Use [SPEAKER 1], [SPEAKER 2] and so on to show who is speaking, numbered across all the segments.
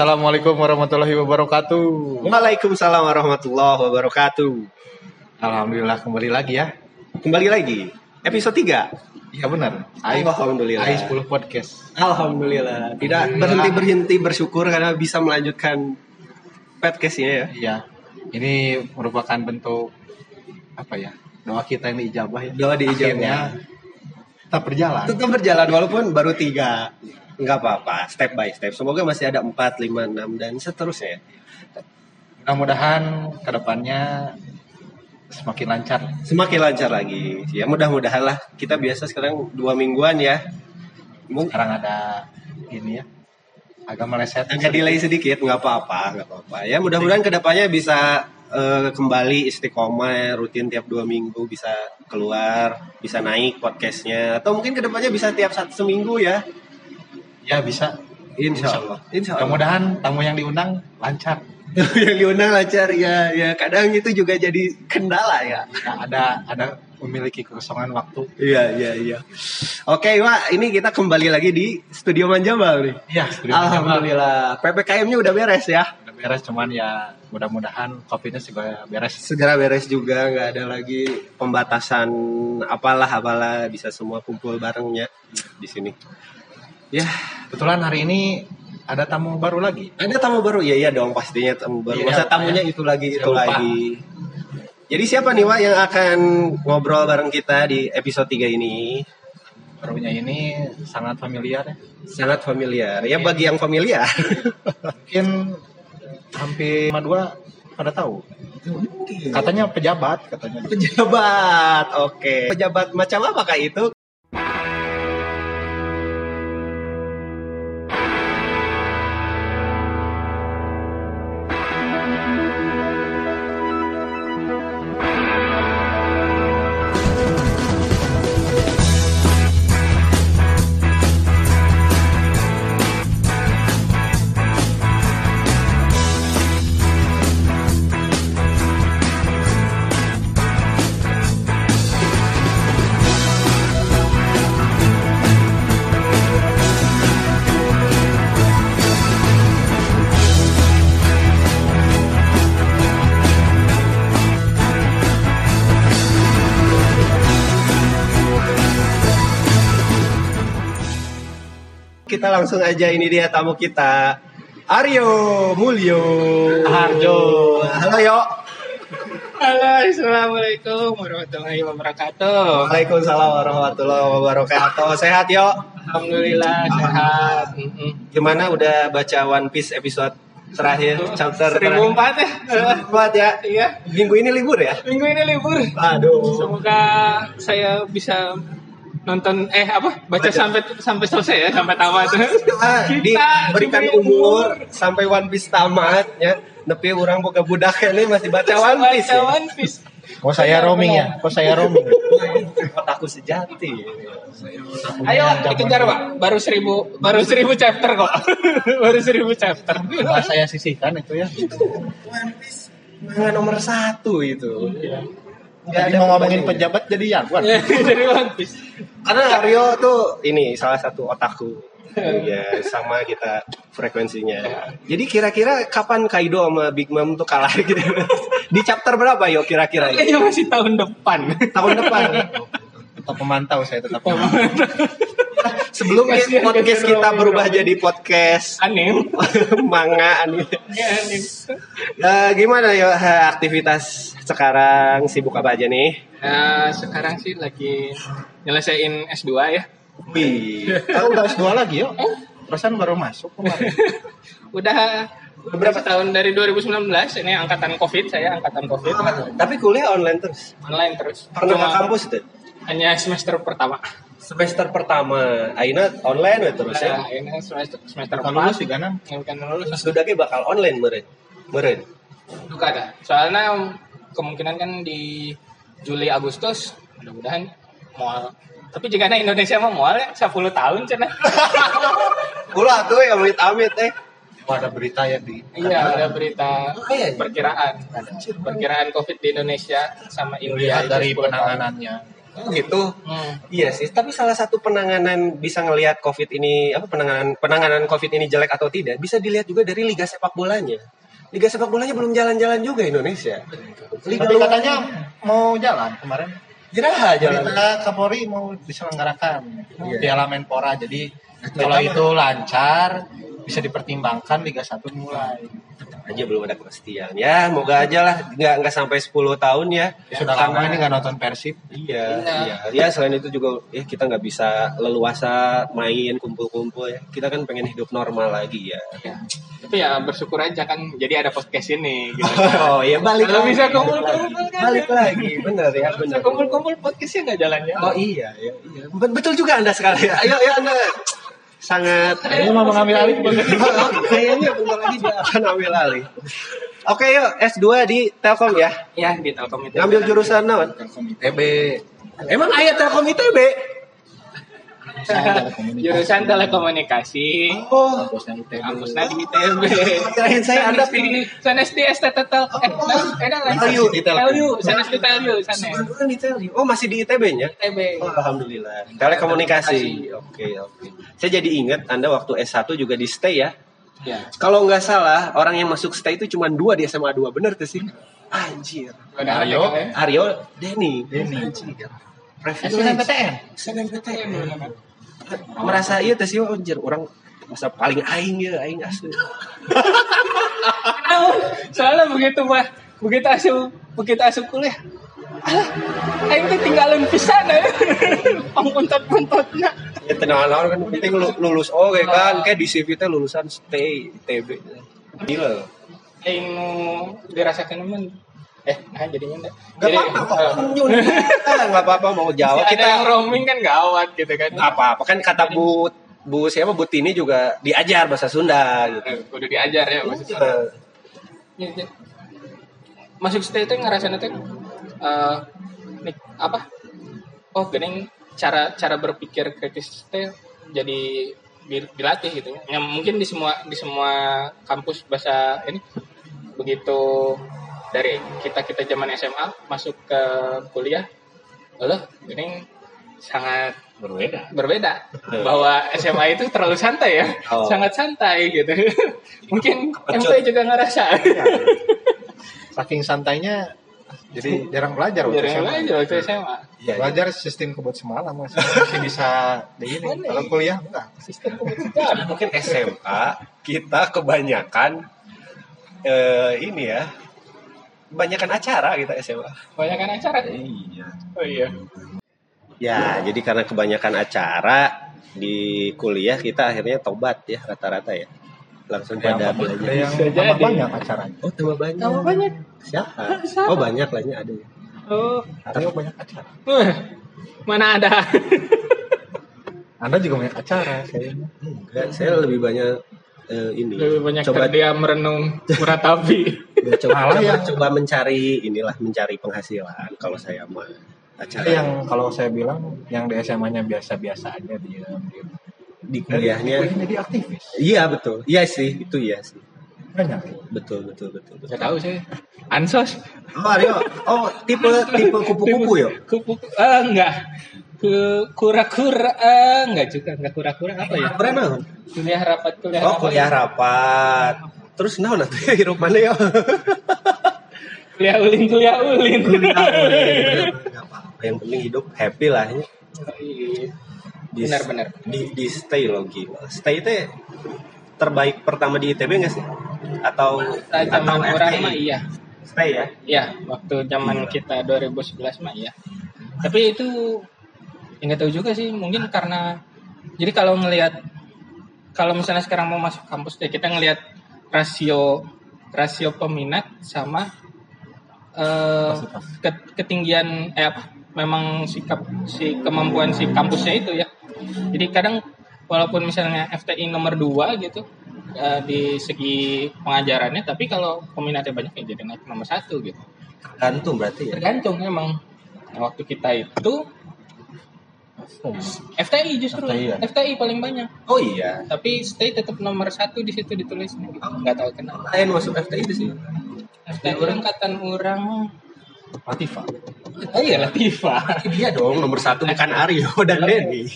[SPEAKER 1] Assalamualaikum warahmatullahi wabarakatuh.
[SPEAKER 2] Waalaikumsalam warahmatullahi wabarakatuh.
[SPEAKER 1] Alhamdulillah kembali lagi ya.
[SPEAKER 2] Kembali lagi episode 3.
[SPEAKER 1] Iya benar.
[SPEAKER 2] Alhamdulillah.
[SPEAKER 1] AI 10 podcast.
[SPEAKER 2] Alhamdulillah. Tidak berhenti-berhenti bersyukur karena bisa melanjutkan podcastnya ya.
[SPEAKER 1] Iya. Ini merupakan bentuk apa ya? Doa kita yang diijabah ya.
[SPEAKER 2] Doa diijabah.
[SPEAKER 1] Akhirnya tetap berjalan.
[SPEAKER 2] Tetap berjalan walaupun baru 3. Enggak apa-apa, step by step. Semoga masih ada 4, 5, 6 dan seterusnya.
[SPEAKER 1] Mudah-mudahan kedepannya semakin lancar.
[SPEAKER 2] Semakin lancar lagi. Ya mudah-mudahan lah. Kita biasa sekarang dua mingguan ya. Mungkin
[SPEAKER 1] Sekarang ada ini ya. Agak meleset.
[SPEAKER 2] agak delay sedikit nggak apa-apa nggak apa-apa ya mudah-mudahan kedepannya bisa eh, kembali istiqomah rutin tiap dua minggu bisa keluar bisa naik podcastnya atau mungkin kedepannya bisa tiap satu seminggu ya
[SPEAKER 1] Ya bisa.
[SPEAKER 2] insya Allah insya Ya Allah
[SPEAKER 1] Mudah-mudahan tamu yang diundang lancar.
[SPEAKER 2] yang diundang lancar ya ya kadang itu juga jadi kendala ya
[SPEAKER 1] Ya, ada ada memiliki kekosongan waktu.
[SPEAKER 2] iya iya iya oke Wak ini kita kembali lagi di studio Manjabal nih
[SPEAKER 1] Iya, studio
[SPEAKER 2] Alhamdulillah PPKM-nya udah beres ya
[SPEAKER 1] udah beres cuman ya mudah-mudahan covidnya segera beres
[SPEAKER 2] segera beres juga nggak ada lagi pembatasan apalah apalah bisa semua kumpul barengnya di sini ya
[SPEAKER 1] kebetulan hari ini ada tamu baru lagi
[SPEAKER 2] ada tamu baru ya iya dong pastinya tamu baru
[SPEAKER 1] Iya,
[SPEAKER 2] masa
[SPEAKER 1] Pak,
[SPEAKER 2] tamunya
[SPEAKER 1] ya.
[SPEAKER 2] itu lagi
[SPEAKER 1] Saya
[SPEAKER 2] itu
[SPEAKER 1] lupa.
[SPEAKER 2] lagi jadi siapa nih Wak yang akan ngobrol bareng kita di episode 3 ini
[SPEAKER 1] barunya ini sangat familiar ya
[SPEAKER 2] sangat familiar ya bagi yang familiar
[SPEAKER 1] mungkin hampir sama dua pada tahu katanya pejabat katanya
[SPEAKER 2] pejabat oke pejabat macam apa kak itu kita langsung aja ini dia tamu kita Aryo Mulyo
[SPEAKER 1] Harjo.
[SPEAKER 2] halo yo
[SPEAKER 3] Halo, assalamualaikum warahmatullahi wabarakatuh.
[SPEAKER 2] Waalaikumsalam warahmatullahi wabarakatuh. Sehat yo.
[SPEAKER 3] Alhamdulillah sehat. Mm-mm.
[SPEAKER 2] Gimana udah baca One Piece episode terakhir chapter
[SPEAKER 3] Seribu
[SPEAKER 2] terakhir?
[SPEAKER 3] empat ya.
[SPEAKER 2] Empat ya.
[SPEAKER 3] Iya.
[SPEAKER 2] Minggu ini libur ya?
[SPEAKER 3] Minggu ini libur.
[SPEAKER 2] Aduh.
[SPEAKER 3] Semoga saya bisa nonton eh apa baca,
[SPEAKER 2] Baca.
[SPEAKER 3] sampai sampai selesai ya sampai tamat.
[SPEAKER 2] Ah,
[SPEAKER 3] Kita
[SPEAKER 2] diberikan
[SPEAKER 3] diberi
[SPEAKER 2] umur sampai One Piece tamat ya. Tapi orang boga budak ini masih baca One
[SPEAKER 3] Baca
[SPEAKER 2] Piece. Ya.
[SPEAKER 3] One Piece.
[SPEAKER 1] kok saya roaming ya kok saya roaming
[SPEAKER 2] Otakku sejati.
[SPEAKER 3] Ayo
[SPEAKER 2] Iya,
[SPEAKER 3] dikejar pak. Baru seribu baru seribu chapter kok. baru seribu chapter.
[SPEAKER 1] Wah, saya sisihkan itu ya
[SPEAKER 2] One Piece manga nomor satu itu. Nggak
[SPEAKER 1] Tadi
[SPEAKER 2] ada
[SPEAKER 1] mau ngomongin
[SPEAKER 2] bebannya.
[SPEAKER 1] pejabat jadi jagoan
[SPEAKER 3] Eh. Jadi Iya, One Piece.
[SPEAKER 2] Karena Aryo tuh ini salah satu otakku. Iya, sama kita frekuensinya. Jadi kira-kira kapan Kaido sama Big Mom tuh kalah gitu? Di chapter berapa yo kira-kira? yo?
[SPEAKER 3] Kayaknya masih tahun depan.
[SPEAKER 2] Tahun depan.
[SPEAKER 1] tetap memantau saya tetap memantau.
[SPEAKER 2] Sebelum
[SPEAKER 3] Kasihan
[SPEAKER 2] podcast
[SPEAKER 3] Kaido
[SPEAKER 2] kita
[SPEAKER 3] Robin,
[SPEAKER 2] berubah
[SPEAKER 3] Robin.
[SPEAKER 2] jadi podcast
[SPEAKER 3] Anim.
[SPEAKER 2] manga anime.
[SPEAKER 3] Ya, anim.
[SPEAKER 2] Eh, gimana yo eh, aktivitas sekarang sibuk apa aja nih?
[SPEAKER 3] Nah, sekarang sih lagi nyelesain S2 ya.
[SPEAKER 2] Wih,
[SPEAKER 1] Aku udah S2 lagi yuk perasaan baru masuk kemarin
[SPEAKER 3] Udah berapa tahun dari 2019 ini angkatan Covid saya angkatan Covid
[SPEAKER 2] tapi kuliah online terus.
[SPEAKER 3] online terus.
[SPEAKER 2] Pernah
[SPEAKER 3] Cuma
[SPEAKER 2] ke kampus tuh?
[SPEAKER 3] Hanya semester pertama.
[SPEAKER 2] Semester pertama, Aina online we terus ya.
[SPEAKER 3] Nah, ini semester semester
[SPEAKER 1] kalau lulus sih
[SPEAKER 3] pertama.
[SPEAKER 1] kanan
[SPEAKER 3] Yang kan lulus
[SPEAKER 2] Sudah ge bakal online meren. Meren.
[SPEAKER 3] juga ada. Soalnya kemungkinan kan di Juli Agustus mudah-mudahan mual. Tapi jika ada Indonesia mah mual ya 10 tahun cenah.
[SPEAKER 2] Ulah tuh ya amit amit eh.
[SPEAKER 1] Wah, ada berita ya di
[SPEAKER 3] Iya, ada berita
[SPEAKER 2] Oh, iya, iya.
[SPEAKER 3] perkiraan. Perkiraan COVID di Indonesia sama
[SPEAKER 1] Lihat Iya,
[SPEAKER 3] India itu
[SPEAKER 1] dari
[SPEAKER 3] 10 tahun.
[SPEAKER 1] penanganannya
[SPEAKER 4] Oh gitu.
[SPEAKER 3] Hmm.
[SPEAKER 2] Iya sih, tapi salah satu penanganan bisa ngelihat COVID ini apa penanganan penanganan COVID ini jelek atau tidak bisa dilihat juga dari liga sepak bolanya. Liga sepak bolanya belum jalan-jalan juga Indonesia. Liga
[SPEAKER 1] Tapi
[SPEAKER 2] luar-
[SPEAKER 1] katanya mau jalan kemarin.
[SPEAKER 2] jeraha jalan.
[SPEAKER 1] Berita Kapolri mau diselenggarakan
[SPEAKER 2] Iya.
[SPEAKER 1] Piala Menpora. Jadi kalau itu lancar bisa dipertimbangkan Liga 1 mulai.
[SPEAKER 2] Aja belum ada kepastian. Ya, moga aja lah nggak nggak sampai 10 tahun ya.
[SPEAKER 1] Sudah
[SPEAKER 2] Karena-
[SPEAKER 1] lama ini nggak nonton Persib.
[SPEAKER 2] Iya,
[SPEAKER 3] Benar.
[SPEAKER 2] iya. Ya selain itu juga ya kita nggak bisa leluasa main kumpul-kumpul ya. Kita kan pengen hidup normal lagi ya.
[SPEAKER 3] Tapi ya bersyukur aja kan jadi ada podcast ini gitu.
[SPEAKER 2] Oh ya balik
[SPEAKER 3] Kalau
[SPEAKER 2] lagi.
[SPEAKER 3] bisa kumpul-kumpul kan.
[SPEAKER 2] Balik lagi, bener ya
[SPEAKER 3] Kalau bisa
[SPEAKER 2] bener.
[SPEAKER 3] kumpul-kumpul podcastnya nggak jalan ya.
[SPEAKER 2] Oh iya, iya, iya. Bet- betul juga anda sekali. Ayo ya anda sangat
[SPEAKER 1] Ini mau mengambil alih
[SPEAKER 2] kayaknya bentar lagi dia akan ambil alih. Oke yuk S2 di Telkom ya.
[SPEAKER 3] Ya di Telkom itu.
[SPEAKER 2] Ngambil jurusan naon?
[SPEAKER 4] Telkom ITB.
[SPEAKER 2] Emang ayah Telkom ITB?
[SPEAKER 3] jurusan telekomunikasi.
[SPEAKER 2] Oh,
[SPEAKER 4] Kampusnya ITB.
[SPEAKER 3] Kampusnya di ITB.
[SPEAKER 2] kirain saya anda
[SPEAKER 3] di
[SPEAKER 2] pilih.
[SPEAKER 3] sanes di STT Telkom. Eh, eh, dah lain.
[SPEAKER 2] LU.
[SPEAKER 3] LU, sanes di LU, sanes.
[SPEAKER 2] Sebenarnya di Telkom. Oh masih di ITB-nya?
[SPEAKER 3] ITB.
[SPEAKER 2] Oh, Alhamdulillah. Telekomunikasi. Oke, oke. Saya jadi ingat Anda waktu S1 juga di stay ya.
[SPEAKER 3] Ya.
[SPEAKER 2] Kalau nggak salah, orang yang masuk stay itu cuma dua di SMA 2. Bener tuh sih? Anjir.
[SPEAKER 1] Ayo.
[SPEAKER 2] Aryo, Denny.
[SPEAKER 1] Denny.
[SPEAKER 2] Anjir.
[SPEAKER 1] SNMPTN.
[SPEAKER 2] SNMPTN. Merasa iya tuh sih, oh, anjir. Orang masa paling aing ya, aing asli.
[SPEAKER 3] Tahu. Soalnya begitu mah, begitu asu, begitu asu kuliah. Alah, aing teh tinggalin pisan eh. Pangpuntot-puntotna.
[SPEAKER 2] Ya tenang-tenang kan penting lu- lulus oke kan. Kayak di CV teh lulusan stay ITB. Gila. loh.
[SPEAKER 3] Aing nu dirasakeun mah eh nah jadinya enggak.
[SPEAKER 2] Gak apa-apa kok. Gak eh, apa-apa mau jawab.
[SPEAKER 3] kita
[SPEAKER 2] Kita
[SPEAKER 3] yang roaming kan gawat gitu kan.
[SPEAKER 2] apa apa kan kata bu bu siapa bu tini juga diajar bahasa sunda gitu Eh,
[SPEAKER 3] Eh, Udah diajar ya maksudnya. Ya, ya. masuk stay itu ngerasain itu eh, nik- apa oh gening cara cara berpikir kritis teh jadi di- dilatih gitu ya mungkin di semua di semua kampus bahasa ini begitu dari kita kita zaman SMA masuk ke kuliah loh gening sangat
[SPEAKER 4] Berbeda.
[SPEAKER 3] berbeda bahwa SMA itu terlalu santai ya
[SPEAKER 2] Oh.
[SPEAKER 3] sangat santai gitu mungkin MP juga ngerasa
[SPEAKER 2] Iya.
[SPEAKER 1] Saking santainya jadi jarang belajar waktu
[SPEAKER 3] Jarang
[SPEAKER 1] Iya, SMA.
[SPEAKER 3] aja waktu SMA.
[SPEAKER 2] Iya, iya.
[SPEAKER 1] Belajar sistem kebut semalam Mas. masih bisa begini.
[SPEAKER 3] Aneh.
[SPEAKER 1] Kalau kuliah enggak.
[SPEAKER 3] Sistem kebijakan.
[SPEAKER 2] kan mungkin SMA kita kebanyakan eh, ini ya kebanyakan acara kita SMA
[SPEAKER 3] Banyak acara.
[SPEAKER 2] iya
[SPEAKER 3] Oh iya.
[SPEAKER 2] ya jadi karena kebanyakan acara di kuliah kita akhirnya tobat ya rata-rata ya langsung pada
[SPEAKER 1] Ada
[SPEAKER 2] belajar
[SPEAKER 1] yang
[SPEAKER 3] Bisa
[SPEAKER 1] tambah
[SPEAKER 3] jadi.
[SPEAKER 1] banyak acaranya.
[SPEAKER 2] oh tambah banyak
[SPEAKER 3] Kamu banyak.
[SPEAKER 2] siapa oh banyak lainnya ada ya
[SPEAKER 3] Oh.
[SPEAKER 1] Aryo banyak acara.
[SPEAKER 3] Eh, Mana ada?
[SPEAKER 1] Anda juga banyak acara kayaknya.
[SPEAKER 2] enggak saya lebih banyak eh, ini
[SPEAKER 3] Lebih banyak
[SPEAKER 2] coba
[SPEAKER 3] dia merenung meratapi.
[SPEAKER 2] Ya, coba,
[SPEAKER 1] Malah
[SPEAKER 2] coba,
[SPEAKER 1] yang-
[SPEAKER 2] coba mencari inilah mencari penghasilan kalau saya mah acara
[SPEAKER 1] Ada yang kalau saya bilang yang di SMA-nya biasa-biasa aja dia.
[SPEAKER 2] di
[SPEAKER 3] Iya,
[SPEAKER 1] Kuliahnya
[SPEAKER 2] kuliahnya
[SPEAKER 1] jadi aktivis.
[SPEAKER 2] iya betul iya sih itu iya sih
[SPEAKER 1] Banyak.
[SPEAKER 2] betul betul betul, betul.
[SPEAKER 3] Gak tahu sih. Ansos.
[SPEAKER 2] oh Aryo oh tipe tipe kupu-kupu ya? yo
[SPEAKER 3] Kupu eh, enggak. Ke kura-kura eh, enggak juga enggak kura-kura apa ya?
[SPEAKER 2] pernah
[SPEAKER 3] Kuliah rapat kuliah.
[SPEAKER 2] oh
[SPEAKER 3] rapat.
[SPEAKER 2] kuliah rapat terus naon atuh ya hirup mana yo
[SPEAKER 3] Kuliah ulin kuliah ulin.
[SPEAKER 2] Nggak apa-apa, yang penting hidup happy lah ya.
[SPEAKER 3] Iya.
[SPEAKER 2] Di-
[SPEAKER 3] Benar-benar.
[SPEAKER 2] di, di stay loh gila stay itu terbaik pertama di ITB nggak sih atau atau
[SPEAKER 3] Zaman orang
[SPEAKER 2] FTI?
[SPEAKER 3] mah iya.
[SPEAKER 2] stay ya
[SPEAKER 3] Ya, waktu zaman kita 2011 mah ya. Tapi itu nggak tahu juga sih, mungkin karena jadi kalau ngelihat kalau misalnya sekarang mau masuk kampus deh, kita ngelihat rasio rasio peminat sama eh, ket- ketinggian eh apa, memang sikap si kemampuan si kampusnya itu ya. Jadi kadang walaupun misalnya FTI nomor 2 gitu eh, di segi pengajarannya, tapi kalau peminatnya banyak ya jadi naik nomor satu gitu
[SPEAKER 2] gantung berarti ya
[SPEAKER 3] tergantung emang Nah, waktu kita itu FTI justru
[SPEAKER 1] FTI, ya?
[SPEAKER 3] FTI, paling banyak
[SPEAKER 2] oh iya
[SPEAKER 3] tapi stay tetap nomor satu di situ ditulisnya gitu. nggak tahu kenapa Iya,
[SPEAKER 2] lain masuk FTI itu sih
[SPEAKER 3] FTI orang angkatan orang
[SPEAKER 4] Latifa.
[SPEAKER 3] Oh iya Latifa.
[SPEAKER 2] Iya dong, nomor satu bukan Aryo dan
[SPEAKER 3] Iya.
[SPEAKER 2] Denny.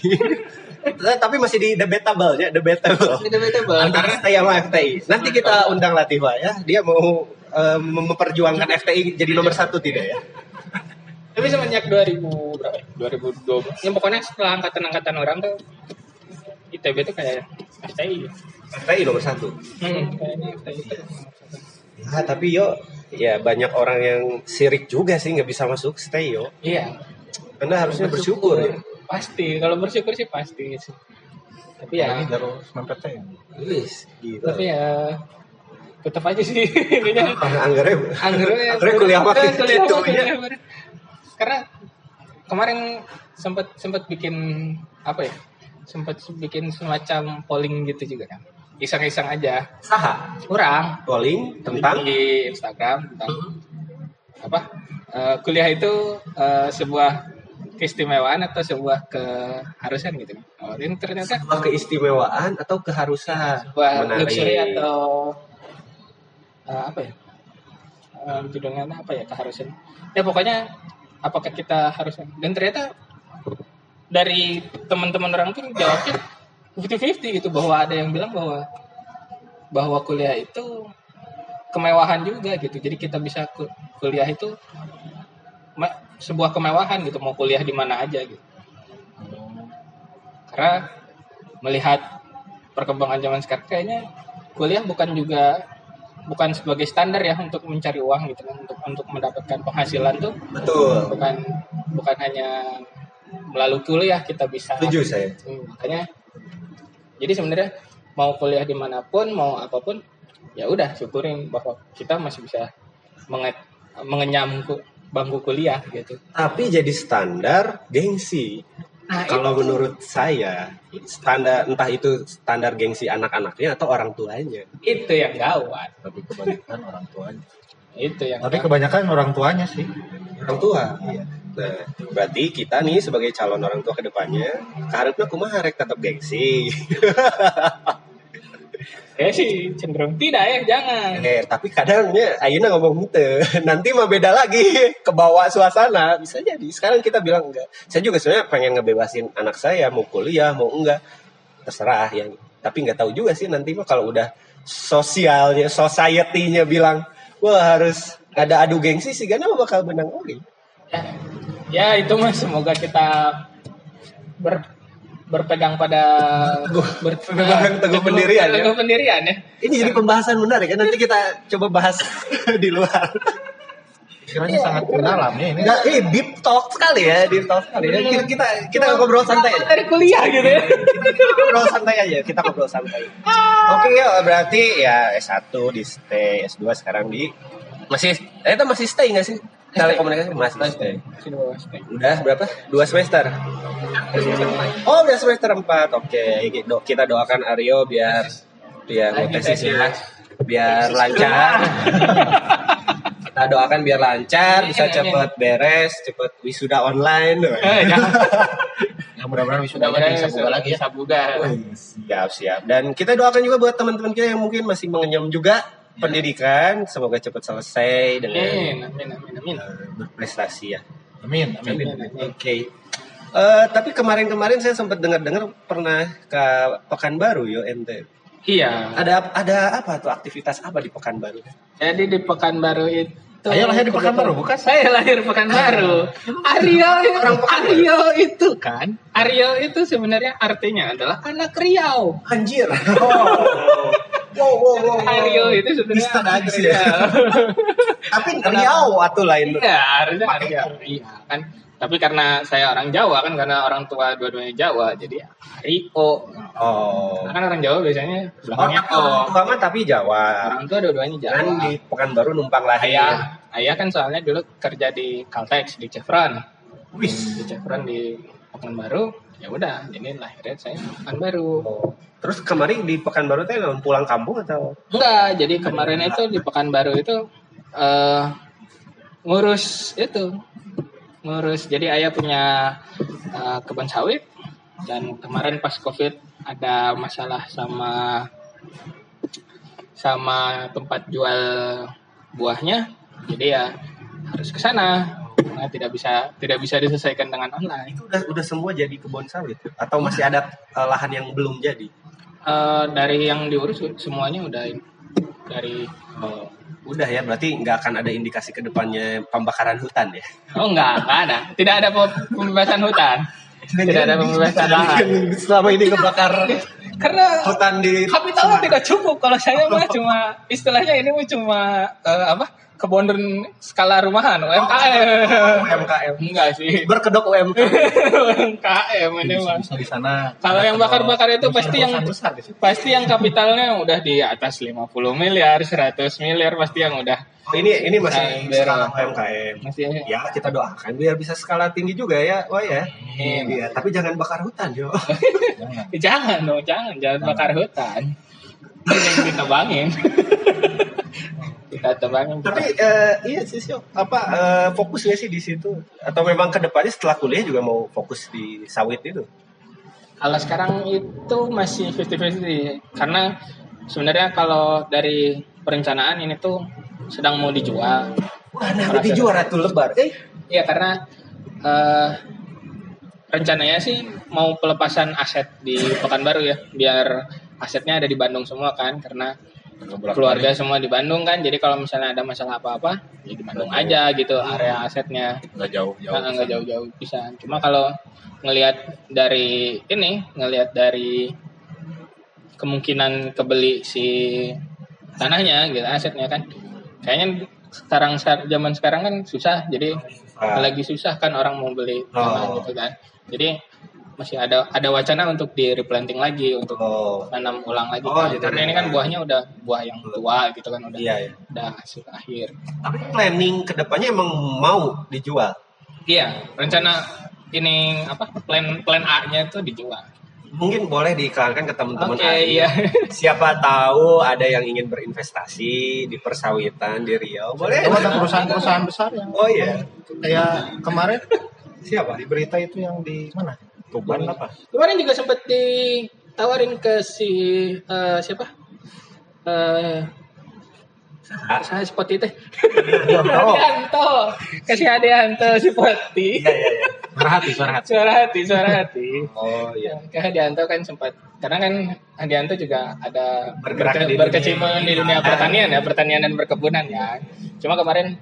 [SPEAKER 2] Eh, Tapi masih di debatable ya, debatable. Antara FTI sama FTI. Nanti
[SPEAKER 3] Iya.
[SPEAKER 2] kita undang Latifa ya, dia mau eh, mem- memperjuangkan FTI jadi nomor satu tidak ya?
[SPEAKER 3] Tapi semenjak 2000 berapa ya? 2012. Ya pokoknya setelah angkatan-angkatan orang tuh ITB itu kayak FTI.
[SPEAKER 2] FTI nomor satu.
[SPEAKER 3] Hmm, ya. kayaknya FTI itu.
[SPEAKER 2] Ah, tapi yo, ya banyak orang yang sirik juga sih nggak bisa masuk stay yo.
[SPEAKER 3] Iya.
[SPEAKER 2] Anda harusnya bersyukur ya.
[SPEAKER 3] Pasti, kalau bersyukur sih pasti sih. Tapi ya,
[SPEAKER 4] Ini baru 9
[SPEAKER 2] Wis, gitu.
[SPEAKER 3] tapi ya tetap aja sih ininya.
[SPEAKER 2] Ah, Anggarnya,
[SPEAKER 3] Anggrek
[SPEAKER 2] anggarnya ya, kuliah
[SPEAKER 3] Eh,
[SPEAKER 2] makin
[SPEAKER 3] kuliah
[SPEAKER 2] gitu
[SPEAKER 3] makin
[SPEAKER 2] ya.
[SPEAKER 3] gitu. Karena kemarin sempat sempat bikin apa ya? Sempat bikin semacam polling gitu juga kan. Iseng-iseng aja.
[SPEAKER 2] Saha,
[SPEAKER 3] Kurang
[SPEAKER 2] calling tentang
[SPEAKER 3] di Instagram tentang apa? eh, kuliah itu eh, sebuah keistimewaan atau sebuah keharusan gitu. Oh, ini ternyata
[SPEAKER 2] sebuah keistimewaan atau keharusan
[SPEAKER 3] buat
[SPEAKER 2] Menarik.
[SPEAKER 3] luxury atau eh, apa ya Eh, judulnya apa ya keharusan ya pokoknya apakah kita harus dan ternyata dari teman-teman orang tuh jawabnya 50-50 gitu bahwa ada yang bilang bahwa bahwa kuliah itu kemewahan juga gitu jadi kita bisa ku- kuliah itu me- sebuah kemewahan gitu mau kuliah di mana aja gitu karena melihat perkembangan zaman sekarang kayaknya kuliah bukan juga bukan sebagai standar ya untuk mencari uang gitu kan untuk untuk mendapatkan penghasilan tuh
[SPEAKER 2] betul
[SPEAKER 3] bukan bukan hanya melalui kuliah kita bisa
[SPEAKER 2] setuju saya
[SPEAKER 3] Hmm, makanya jadi sebenarnya mau kuliah dimanapun mau apapun ya udah syukurin bahwa kita masih bisa menge- mengenyam ku- bangku kuliah gitu
[SPEAKER 2] tapi jadi standar gengsi
[SPEAKER 3] nah,
[SPEAKER 2] kalau menurut saya standar entah itu standar gengsi anak-anaknya atau orang tuanya
[SPEAKER 3] itu yang gawat
[SPEAKER 4] Tapi kebanyakan orang tuanya.
[SPEAKER 3] itu yang
[SPEAKER 1] Tapi
[SPEAKER 3] gawat.
[SPEAKER 1] kebanyakan orang tuanya sih.
[SPEAKER 2] orang tua nah berarti kita nih sebagai calon orang tua kedepannya harapnya kumaha rek tetap gengsi
[SPEAKER 3] saya sih cenderung tidak ya jangan
[SPEAKER 2] eh tapi kadangnya Ayuna ngomong gitu nanti mah beda lagi ke bawah suasana bisa jadi sekarang kita bilang enggak saya juga sebenarnya pengen ngebebasin anak saya mau kuliah mau enggak terserah yang tapi nggak tahu juga sih nanti mah kalau udah sosialnya society-nya bilang wah harus ada adu gengsi sih karena bakal menang oke
[SPEAKER 3] ya, ya itu mas semoga kita ber, berpegang pada ber,
[SPEAKER 2] berpegang teguh pendirian ya.
[SPEAKER 3] teguh pendirian ya
[SPEAKER 2] ini jadi pembahasan menarik ya nanti kita coba bahas di luar
[SPEAKER 1] Kiranya sangat mendalam ya ini.
[SPEAKER 3] Iya.
[SPEAKER 2] Nggak, eh deep talk sekali ya deep talk sekali ya. kita kita, kita ngobrol santai aja.
[SPEAKER 3] dari kuliah gitu ya
[SPEAKER 2] ngobrol santai aja kita ngobrol santai oke ya berarti ya S1 di stay S2 sekarang di masih eh itu masih stay nggak sih telekomunikasi masih stay
[SPEAKER 3] Sini bawa spek.
[SPEAKER 2] udah berapa dua semester oh udah semester empat oke do- kita doakan Aryo biar biar
[SPEAKER 3] Lagi
[SPEAKER 2] tesisnya
[SPEAKER 3] tesis.
[SPEAKER 2] biar lancar kita doakan biar lancar bisa
[SPEAKER 3] Amin, amin.
[SPEAKER 2] cepet beres cepet wisuda online
[SPEAKER 3] Eh, jangan
[SPEAKER 1] Ya mudah-mudahan wisuda
[SPEAKER 3] sudah berani
[SPEAKER 1] bisa buka lagi ya.
[SPEAKER 3] sabuga
[SPEAKER 2] iya Siap, siap. Dan kita doakan juga buat teman-teman kita yang mungkin masih mengenyam juga pendidikan. Semoga cepat selesai dengan
[SPEAKER 3] Iya. amin amin amin amin
[SPEAKER 2] eh, berprestasi ya.
[SPEAKER 1] Amin, amin.
[SPEAKER 3] Iya,
[SPEAKER 2] Oke. Eh, tapi kemarin-kemarin saya sempat dengar-dengar pernah ke Pekanbaru yo ente.
[SPEAKER 3] iya
[SPEAKER 2] Ada ada apa tuh aktivitas apa di Pekanbaru?
[SPEAKER 3] jadi di pekanbaru itu
[SPEAKER 1] Ayo lahir di Pekanbaru, bukan?
[SPEAKER 3] saya lahir pekanbaru Aryo orang Aryo itu kan Aryo itu sebenarnya artinya adalah anak Riau
[SPEAKER 2] Anjir. Oh. Wow, wow, wow, wow.
[SPEAKER 3] Aryo itu sebenarnya
[SPEAKER 2] Bisa
[SPEAKER 3] anak
[SPEAKER 2] nangis ya. Tapi Riau atuh lain.
[SPEAKER 3] Iya, harusnya
[SPEAKER 2] Pakai
[SPEAKER 3] Aryo. Iya, kan. Tapi karena saya orang Jawa kan karena orang tua dua-duanya Jawa, jadi ya Rio.
[SPEAKER 2] Oh.
[SPEAKER 3] Karena kan orang Jawa biasanya
[SPEAKER 2] Oh,
[SPEAKER 3] belakangnya
[SPEAKER 2] tapi
[SPEAKER 3] O.
[SPEAKER 2] orang tua mah tapi Jawa.
[SPEAKER 3] Orang tua dua-duanya
[SPEAKER 2] Kan
[SPEAKER 3] Jawa.
[SPEAKER 2] di Pekanbaru numpang lahir.
[SPEAKER 3] Ayah, ayah kan soalnya dulu kerja di Caltex di Chevron, di Chevron di Pekanbaru. Ya udah, ini lahirnya saya di Pekanbaru.
[SPEAKER 2] Oh. Terus kemarin di Pekanbaru teh lamun pulang kampung atau?
[SPEAKER 3] Enggak, jadi kemarin itu di Pekanbaru itu eh ngurus itu. Ngurus. Jadi ayah punya eh, kebun sawit dan kemarin pas Covid ada masalah sama sama tempat jual buahnya. Jadi ya harus ke sana Nah, tidak bisa tidak bisa diselesaikan dengan online
[SPEAKER 2] Itu udah udah semua jadi kebun sawit atau masih ada eh, lahan yang belum jadi?
[SPEAKER 3] Eh, dari yang diurus semuanya udah ini. dari
[SPEAKER 2] Oh, udah ya berarti nggak akan ada indikasi ke depannya pembakaran hutan ya.
[SPEAKER 3] oh enggak enggak ada tidak ada pe- pembebasan hutan tidak ada pembebasan lahan
[SPEAKER 2] Selama ini ngebakar
[SPEAKER 3] karena
[SPEAKER 2] hutan di
[SPEAKER 3] kapitalnya tidak cukup kalau saya mah cuma istilahnya ini mah cuma eh, apa kebondon skala rumahan UMKM
[SPEAKER 2] UMKM.
[SPEAKER 3] enggak sih
[SPEAKER 2] Berkedok UMKM.
[SPEAKER 3] UMKM ini mah
[SPEAKER 1] bisa di sana.
[SPEAKER 3] Kalau yang bakar-bakar itu pasti yang-
[SPEAKER 1] besar di situ.
[SPEAKER 3] pasti yang kapitalnya udah di atas 50 miliar 100 miliar pasti yang udah
[SPEAKER 2] Oh, ini ini masih
[SPEAKER 3] Ember.
[SPEAKER 2] skala UMKM.
[SPEAKER 3] masih
[SPEAKER 2] Ya kita doakan biar bisa skala tinggi juga ya, wah ya.
[SPEAKER 3] Iya.
[SPEAKER 2] Iya, tapi jangan bakar hutan yo.
[SPEAKER 1] Jangan.
[SPEAKER 3] Jangan dong, jangan, jangan bakar hutan. Ini kita bangin. kita tebangin.
[SPEAKER 2] tapi eh, iya sih Sio. apa eh, fokusnya sih di situ atau memang kedepannya setelah kuliah juga mau fokus di sawit itu?
[SPEAKER 3] Kalau sekarang itu masih 50-50 karena sebenarnya kalau dari perencanaan ini tuh sedang mau dijual.
[SPEAKER 2] Wah, nah,
[SPEAKER 3] Merasa-
[SPEAKER 2] berarti juara tuh lebar. Eh,
[SPEAKER 3] Iya karena eh, rencananya sih mau pelepasan aset di Pekanbaru ya, biar asetnya ada di Bandung semua kan karena keluarga semua di Bandung kan jadi kalau misalnya ada masalah apa-apa ya di Bandung aja gitu area asetnya
[SPEAKER 4] nggak jauh jauh
[SPEAKER 3] Nah, nggak jauh-jauh pisan cuma kalau ngelihat dari ini ngelihat dari kemungkinan kebeli si tanahnya gitu asetnya kan kayaknya sekarang sa- zaman sekarang kan susah jadi
[SPEAKER 2] Ah.
[SPEAKER 3] lagi susah kan orang mau beli tanah
[SPEAKER 2] Oh.
[SPEAKER 3] gitu kan jadi masih ada ada wacana untuk di replanting lagi untuk
[SPEAKER 2] oh,
[SPEAKER 3] nanam ulang lagi
[SPEAKER 2] Oh,
[SPEAKER 3] kan.
[SPEAKER 2] jadi
[SPEAKER 3] karena ini kan
[SPEAKER 2] ada-
[SPEAKER 3] buahnya udah buah yang tua gitu kan udah
[SPEAKER 2] iya ya.
[SPEAKER 3] udah hasil akhir
[SPEAKER 2] Tapi planning kedepannya emang mau dijual.
[SPEAKER 3] iya rencana ini apa plan plan A nya itu dijual
[SPEAKER 2] Mungkin boleh diiklankan ke teman-teman
[SPEAKER 3] oke
[SPEAKER 2] Ari.
[SPEAKER 3] iya
[SPEAKER 2] Siapa tahu ada yang ingin berinvestasi di persawitan di Riau. Boleh.
[SPEAKER 1] Itu ada perusahaan-perusahaan besar yang
[SPEAKER 2] Oh iya.
[SPEAKER 1] kayak kemarin
[SPEAKER 2] Siapa?
[SPEAKER 1] di berita itu yang di mana?
[SPEAKER 2] Tuban apa?
[SPEAKER 3] kemarin juga sempat ditawarin ke si eh, siapa eh
[SPEAKER 2] Ah.
[SPEAKER 3] saya Spoti teh
[SPEAKER 2] Oh.
[SPEAKER 3] Adianto kasih Adianto si Poti
[SPEAKER 2] Iya iya iya.
[SPEAKER 4] berhati berhati
[SPEAKER 3] suara hati suara hati
[SPEAKER 2] Oh iya.
[SPEAKER 3] ke Hadianto kan sempat karena kan Hadianto juga ada
[SPEAKER 2] Bergerak di
[SPEAKER 3] berke-
[SPEAKER 2] dunia. Ah.
[SPEAKER 3] berkecimpung di dunia pertanian ya pertanian dan perkebunan ya cuma kemarin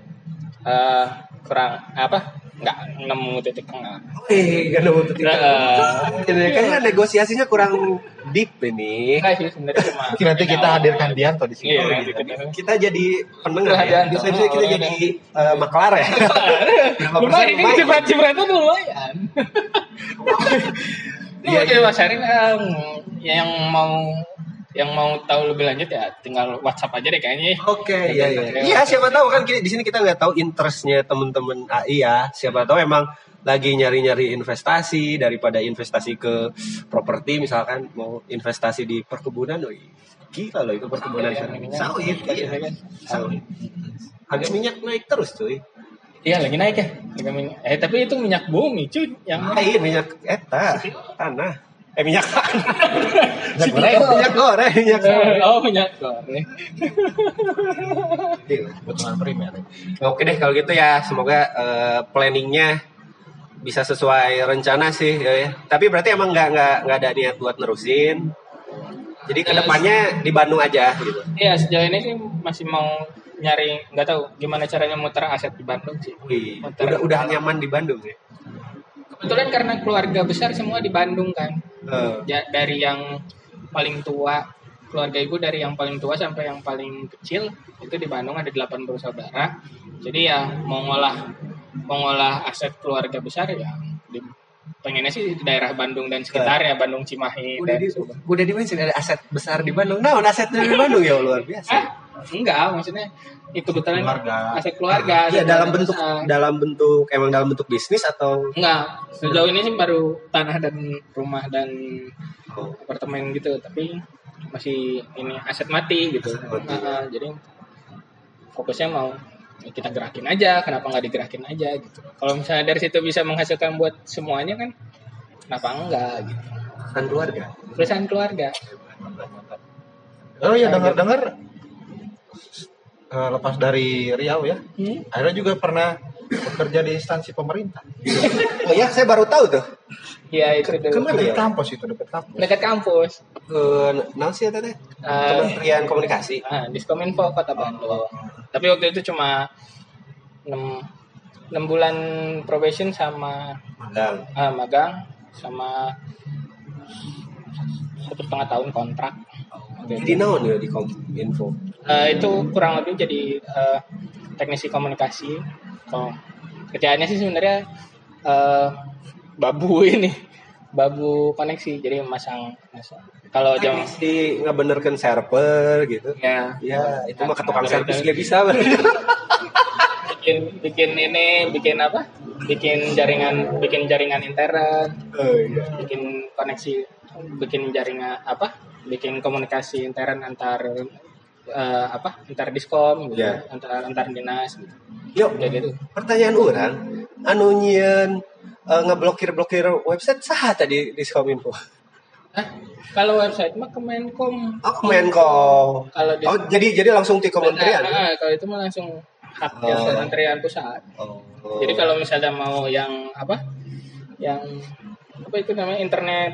[SPEAKER 3] eh, kurang apa nggak nemu titik tengah
[SPEAKER 2] Eh, gak nemu titik
[SPEAKER 3] Nah,
[SPEAKER 2] temu. Jadi kayaknya negosiasinya kurang deep ini.
[SPEAKER 3] enggak Iya sih sebenarnya cuma
[SPEAKER 1] Nanti kita hadirkan Dianto di sini.
[SPEAKER 2] Oh,
[SPEAKER 3] iya nanti
[SPEAKER 2] iya.
[SPEAKER 3] kita
[SPEAKER 2] Kita jadi pendengar
[SPEAKER 3] Kerajaan.
[SPEAKER 2] ya. Biasanya kita
[SPEAKER 3] Oh,
[SPEAKER 2] jadi eh, maklar ya. Berapa persen
[SPEAKER 3] lumayan ini
[SPEAKER 2] lumayan?
[SPEAKER 3] ciprat cipratan lumayan ini
[SPEAKER 2] Iya,
[SPEAKER 3] oke mas Arin em, yang mau yang mau tahu lebih lanjut ya tinggal WhatsApp aja deh kayaknya ya.
[SPEAKER 2] Oke, iya iya. Iya, siapa tahu kan kita- di sini kita nggak tahu interestnya teman-teman AI ya. Siapa tahu emang lagi nyari-nyari investasi daripada investasi ke properti misalkan mau investasi di perkebunan, wih, gila loh itu perkebunan
[SPEAKER 3] Iya,
[SPEAKER 2] sawit, iya.
[SPEAKER 3] iya, iya.
[SPEAKER 2] sawit. Harga minyak naik terus cuy.
[SPEAKER 3] Iya lagi naik ya. Harga minyak. Eh tapi itu minyak bumi cuy yang
[SPEAKER 2] Lain minyak eta tanah. Eh minyak tanah.
[SPEAKER 1] Minyak goreng.
[SPEAKER 2] minyak goreng, Eh. minyak goreng.
[SPEAKER 3] oh minyak goreng.
[SPEAKER 1] Kebutuhan primer.
[SPEAKER 2] Oke deh kalau gitu ya, semoga eh, planningnya bisa sesuai rencana sih ya. ya. Tapi berarti emang nggak nggak nggak ada niat buat nerusin. Jadi kedepannya di Bandung aja gitu.
[SPEAKER 3] Iya sejauh ini sih masih mau nyari nggak tahu gimana caranya muter aset di Bandung sih.
[SPEAKER 2] Wih,
[SPEAKER 3] Muter.
[SPEAKER 2] udah udah nyaman di Bandung ya.
[SPEAKER 3] Kebetulan karena keluarga besar semua di Bandung kan.
[SPEAKER 2] Eh,
[SPEAKER 3] Ja- dari yang paling tua keluarga ibu dari yang paling tua sampai yang paling kecil itu di Bandung ada delapan bersaudara. Jadi ya mau ngolah mau ngolah aset keluarga besar ya di, pengennya sih di daerah Bandung dan sekitarnya Bandung Cimahi
[SPEAKER 2] udah gitu?
[SPEAKER 3] dan
[SPEAKER 2] di udah di mention ada aset besar di Bandung. Nah, aset di Bandung ya luar
[SPEAKER 3] Ah,
[SPEAKER 2] biasa.
[SPEAKER 3] enggak, maksudnya itu kebetulan
[SPEAKER 1] Keluarga.
[SPEAKER 3] aset keluarga.
[SPEAKER 2] Iya
[SPEAKER 3] aset
[SPEAKER 2] dalam
[SPEAKER 3] keluarga
[SPEAKER 2] bentuk
[SPEAKER 3] besar.
[SPEAKER 2] dalam bentuk emang dalam bentuk bisnis atau
[SPEAKER 3] enggak. Sejauh ini sih baru tanah dan rumah dan
[SPEAKER 2] oh,
[SPEAKER 3] apartemen gitu, tapi masih ini aset mati gitu.
[SPEAKER 2] Aset mati.
[SPEAKER 3] Ah, ah, jadi fokusnya mau ya kita gerakin aja, kenapa nggak digerakin aja gitu. Kalau misalnya dari situ bisa menghasilkan buat semuanya kan, kenapa enggak gitu.
[SPEAKER 2] kan keluarga.
[SPEAKER 3] Perusahaan keluarga.
[SPEAKER 1] Oh iya dengar-dengar eh, lepas dari Riau ya.
[SPEAKER 3] Hmm.
[SPEAKER 1] Akhirnya juga pernah bekerja di instansi pemerintah.
[SPEAKER 2] Oh ya, saya baru tahu tuh.
[SPEAKER 3] Iya itu tuh.
[SPEAKER 1] Kan
[SPEAKER 2] Riau.
[SPEAKER 1] dekat kampus itu, dekat kampus.
[SPEAKER 3] Dekat kampus.
[SPEAKER 2] Eh, naon sih ya teh?
[SPEAKER 3] Eh,
[SPEAKER 2] Kementerian Komunikasi.
[SPEAKER 3] Ah, Diskominfo Kota
[SPEAKER 2] Oh.
[SPEAKER 3] Bandung. Tapi waktu itu cuma 6, bulan probation sama
[SPEAKER 2] Magang.
[SPEAKER 3] ah, magang sama satu setengah tahun kontrak. Waktu itu.
[SPEAKER 2] Jadi naon ya di Kominfo?
[SPEAKER 3] Eh, itu kurang lebih jadi eh, teknisi komunikasi. Oh. Kerjaannya sih sebenarnya eh, babu ini, babu koneksi. Jadi masang, masang. kalau jam
[SPEAKER 2] Teknis di ngebenerkan server gitu.
[SPEAKER 3] ya
[SPEAKER 2] Ya, itu mah ke tukang
[SPEAKER 3] Nah,
[SPEAKER 2] servis
[SPEAKER 3] bener.
[SPEAKER 2] gak bisa.
[SPEAKER 3] bikin bikin ini bikin apa bikin jaringan bikin jaringan internet
[SPEAKER 2] Oh iya.
[SPEAKER 3] bikin koneksi bikin jaringan apa bikin komunikasi intern antar eh, apa antar diskom gitu,
[SPEAKER 2] Iya.
[SPEAKER 3] antar antar dinas gitu
[SPEAKER 2] Yuk,
[SPEAKER 3] Udah gitu
[SPEAKER 2] pertanyaan orang anu nyeun eh, ngeblokir-blokir website saha tadi di Kominfo?
[SPEAKER 3] Hah? kalau website mah kemenkom
[SPEAKER 2] Oh, Kemenko.
[SPEAKER 3] kalau di
[SPEAKER 2] Oh, jadi jadi langsung di kementerian.
[SPEAKER 3] Ah, ah, kalau itu mah langsung hak
[SPEAKER 2] Oh.
[SPEAKER 3] jasa kementerian pusat
[SPEAKER 2] Oh.
[SPEAKER 3] Jadi kalau misalnya mau yang apa? Yang apa itu namanya internet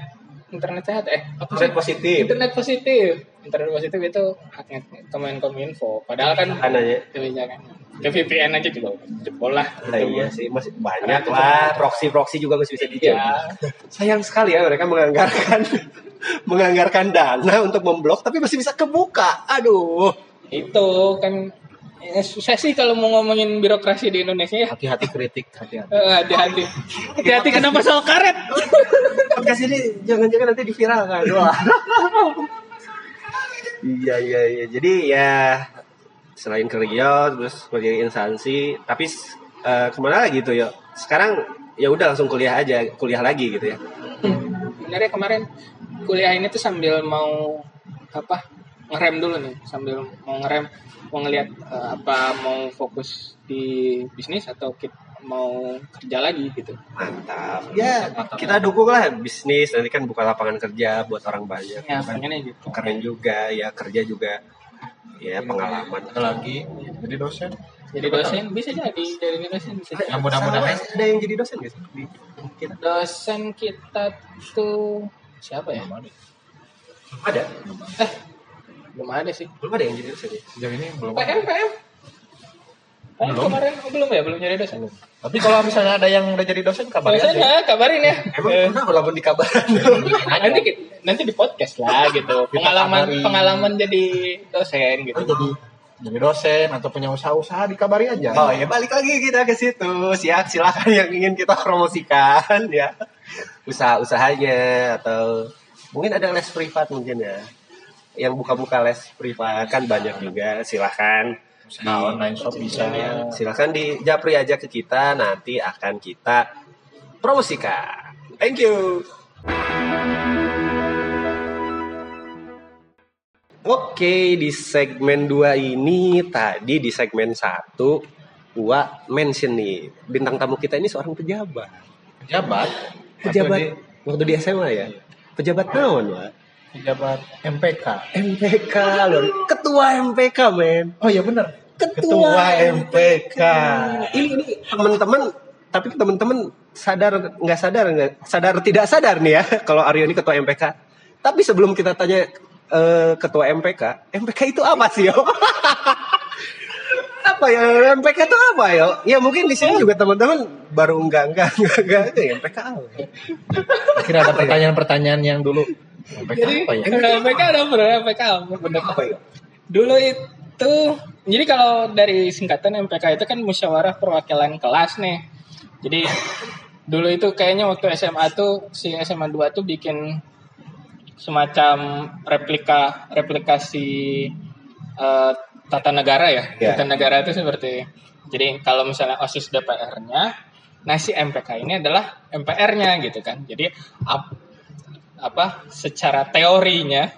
[SPEAKER 3] internet sehat eh apa sih?
[SPEAKER 2] Internet positif.
[SPEAKER 3] Internet positif. Internet positif itu haknya Kemenkominfo. Padahal kan
[SPEAKER 2] Ananya.
[SPEAKER 3] kebijakan ke VPN aja juga jebol lah.
[SPEAKER 2] Nah, iya sih masih banyak lah proxy-proxy juga masih bisa dijual.
[SPEAKER 3] Ya,
[SPEAKER 2] Sayang sekali ya mereka menganggarkan menganggarkan dana untuk memblok tapi masih bisa kebuka. Aduh.
[SPEAKER 3] itu kan ya, susah sih kalau mau ngomongin birokrasi di Indonesia ya.
[SPEAKER 1] Hati-hati kritik, hati-hati.
[SPEAKER 3] Eh, Hati-hati. Hati-hati kenapa soal karet?
[SPEAKER 2] Podcast ini jangan-jangan nanti diviralkan. Wah. iya iya iya. Jadi ya selain kerja terus kerja di instansi tapi eh, kemana lagi tuh ya? Sekarang ya udah langsung kuliah aja kuliah lagi gitu ya.
[SPEAKER 3] Sebenarnya ya, kemarin kuliah ini tuh sambil mau apa ngerem dulu nih, sambil mau ngerem, mau ngelihat eh, apa mau fokus di bisnis atau kit- mau kerja lagi gitu.
[SPEAKER 2] Mantap. Ya kita dukung lah bisnis nanti kan buka lapangan kerja buat orang banyak. Kan
[SPEAKER 3] Ya, pengennya gitu.
[SPEAKER 2] keren juga ya kerja juga ya pengalaman
[SPEAKER 1] Ada lagi jadi dosen.
[SPEAKER 3] Jadi dosen bisa jadi, jadi dosen bisa jadi.
[SPEAKER 1] Ya, mudah-mudahan
[SPEAKER 2] Sama, ada yang jadi dosen gak sih di kita
[SPEAKER 3] Dosen kita tuh siapa ya?
[SPEAKER 2] belum ada
[SPEAKER 3] Eh, belum ada sih.
[SPEAKER 2] belum ada yang jadi dosen ya
[SPEAKER 1] sejauh ini belum.
[SPEAKER 3] PM, PM. PM kemarin oh, belum ya, belum jadi dosen.
[SPEAKER 1] Tapi kalau misalnya ada yang udah jadi dosen kabarin
[SPEAKER 3] Dosen
[SPEAKER 1] aja.
[SPEAKER 3] ya, kabarin ya.
[SPEAKER 2] emang kenapa walaupun dikabaran
[SPEAKER 3] nanti ki- nanti di podcast lah gitu
[SPEAKER 1] Kita
[SPEAKER 3] pengalaman
[SPEAKER 1] kabarin.
[SPEAKER 3] pengalaman jadi dosen gitu
[SPEAKER 1] Jadi jadi dosen atau punya usaha-usaha dikabarin aja.
[SPEAKER 2] oh ya balik lagi kita ke situ siap silakan yang ingin kita promosikan ya usaha-usahanya atau mungkin ada les privat mungkin ya yang buka-buka les privat kan banyak juga silahkan
[SPEAKER 1] Usaha
[SPEAKER 3] Nah,
[SPEAKER 1] online shop bisa.
[SPEAKER 2] silahkan di japri aja ke kita nanti akan kita promosikan thank you Oke, di segmen 2 ini tadi di segmen 1 gua mention nih bintang tamu kita ini seorang pejabat.
[SPEAKER 1] Pejabat.
[SPEAKER 2] Pejabat
[SPEAKER 1] Atau di-
[SPEAKER 2] waktu di SMA ya. Pejabat naon, Wak?
[SPEAKER 1] pejabat MPK.
[SPEAKER 2] MPK loh, ketua MPK, men.
[SPEAKER 1] Oh iya benar.
[SPEAKER 2] Ketua
[SPEAKER 1] MPK.
[SPEAKER 2] ini ini teman-teman tapi teman-teman sadar nggak sadar nggak sadar tidak sadar nih ya kalau Aryo ini ketua MPK tapi sebelum kita tanya eh, ketua MPK MPK itu apa sih yo apa ya MPK itu apa yo ya mungkin di sini juga teman-teman baru enggak enggak enggak enggak itu ya, MPK apa ya?
[SPEAKER 1] Kira ada pertanyaan-pertanyaan yang dulu. MPK
[SPEAKER 3] jadi
[SPEAKER 1] apa ya?
[SPEAKER 3] PK ada bro PK apa bener
[SPEAKER 2] apa ya
[SPEAKER 3] dulu itu jadi kalau dari singkatan MPK itu kan musyawarah perwakilan kelas nih jadi dulu itu kayaknya waktu SMA tuh si SMA 2 tuh bikin semacam replika replikasi eh, tata negara ya
[SPEAKER 2] Ya.
[SPEAKER 3] tata negara itu seperti jadi kalau misalnya osis DPR-nya nah si MPK ini adalah MPR-nya gitu kan jadi ap- apa secara teorinya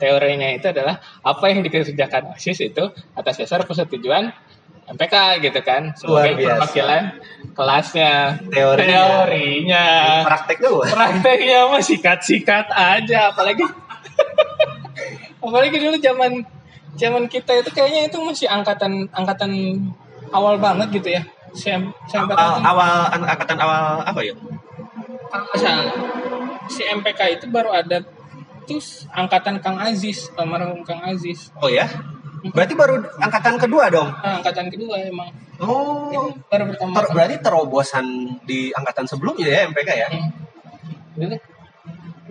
[SPEAKER 3] teorinya itu adalah apa yang dikerjakan OSIS itu atas dasar persetujuan MPK gitu kan
[SPEAKER 2] Luar
[SPEAKER 3] sebagai
[SPEAKER 2] biasa.
[SPEAKER 3] perwakilan kelasnya
[SPEAKER 2] Teorinya.
[SPEAKER 3] teorinya
[SPEAKER 2] prakteknya apa
[SPEAKER 3] prakteknya mah sikat-sikat aja apalagi apalagi dulu zaman zaman kita itu kayaknya itu masih angkatan angkatan awal banget gitu ya. CM CMPK
[SPEAKER 2] awal,
[SPEAKER 3] itu-
[SPEAKER 2] awal an- angkatan awal apa ya?
[SPEAKER 3] kalau nggak salah, si MPK itu baru ada terus angkatan Kang Aziz, almarhum Kang Aziz.
[SPEAKER 2] Oh ya. Berarti baru angkatan kedua dong.
[SPEAKER 3] Nah, angkatan kedua emang
[SPEAKER 2] Oh.
[SPEAKER 3] Itu baru pertama.
[SPEAKER 2] Ter- berarti terobosan di angkatan sebelumnya ya MPK ya?
[SPEAKER 3] Hmm. Gitu.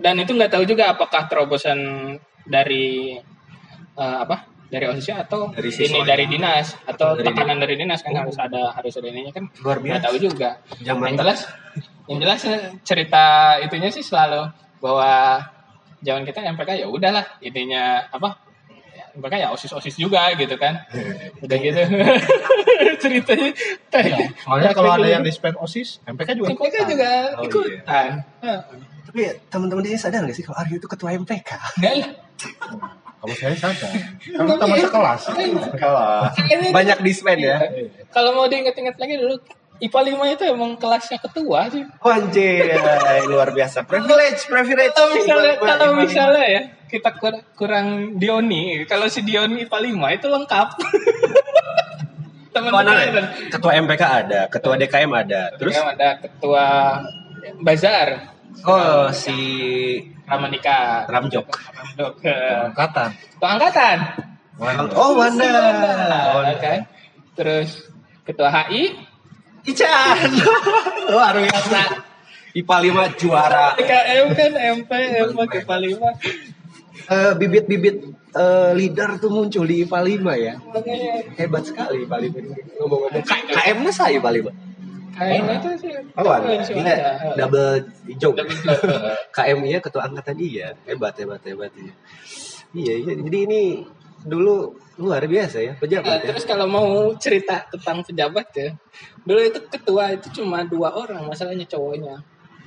[SPEAKER 3] Dan itu nggak tahu juga apakah terobosan dari eh, apa? Dari OSIS atau
[SPEAKER 2] Dari
[SPEAKER 3] ini
[SPEAKER 2] siswa.
[SPEAKER 3] dari dinas atau
[SPEAKER 2] Dari
[SPEAKER 3] tekanan dari dinas kan harus ada harus ada ininya kan
[SPEAKER 2] Luar biasa.
[SPEAKER 3] nggak tahu juga.
[SPEAKER 2] Zaman
[SPEAKER 3] yang jelas yang jelas eh, cerita itunya sih selalu bahwa zaman kita MPK ya udahlah intinya apa ya, MPK ya osis osis juga gitu kan udah gitu ceritanya tadi
[SPEAKER 1] Iya, Soalnya kalau ada yang di spend osis, MPK juga.
[SPEAKER 3] MPK juga
[SPEAKER 2] Oh, iya.
[SPEAKER 3] ikutan Hah,
[SPEAKER 2] Tapi teman-teman di sini sadar nggak sih kalau Aryo itu ketua MPK?
[SPEAKER 3] enggak lah
[SPEAKER 1] Kalau saya sadar, kan teman sekelas.
[SPEAKER 3] Kayaknya itu-
[SPEAKER 2] Banyak dispen ya.
[SPEAKER 3] kalau mau diingat-ingat lagi dulu IPA 5 itu emang kelasnya ketua sih
[SPEAKER 2] Anjir, luar biasa. Privilege, privilege.
[SPEAKER 3] kalau misalnya
[SPEAKER 2] Iman-
[SPEAKER 3] kalau
[SPEAKER 2] Iman-
[SPEAKER 3] misalnya ya kita kur- kurang Dioni kalau si Dioni IPA 5 itu lengkap
[SPEAKER 2] Iman- Iman-
[SPEAKER 3] teman-teman
[SPEAKER 2] Ketua MPK ada, ketua DKM ada. ya? Terus
[SPEAKER 3] terus ada ketua bazar
[SPEAKER 2] oh si
[SPEAKER 3] Ramanika
[SPEAKER 2] Ramjok.
[SPEAKER 3] Ramdok eh,
[SPEAKER 1] Angkatan.
[SPEAKER 3] ketua angkatan
[SPEAKER 2] Oh Wanda. Oh,
[SPEAKER 3] Wanda, kan terus ketua HI
[SPEAKER 2] Ican. luar biasa. IPA 5 juara.
[SPEAKER 3] TKM kan MP MP IPA 5
[SPEAKER 2] Eh, bibit-bibit eh, leader tuh muncul di IPA 5 ya.
[SPEAKER 3] makanya
[SPEAKER 2] Hebat sekali IPA 5. ini. Ngomong-ngomong K- KM-nya saya IPA 5.
[SPEAKER 3] kayaknya itu gitu sih Iya,
[SPEAKER 2] Oh, ada.
[SPEAKER 3] sih,
[SPEAKER 2] Gila,
[SPEAKER 3] ada.
[SPEAKER 2] double job.
[SPEAKER 3] Double job.
[SPEAKER 2] KM iya ketua angkatan iya. Hebat, hebat, hebat. Iya, iya. iya. Jadi ini dulu luar biasa ya
[SPEAKER 3] Nah,
[SPEAKER 2] pejabat ya.
[SPEAKER 3] terus kalau mau cerita tentang pejabat ya, dulu itu ketua itu cuma dua orang masalahnya cowoknya.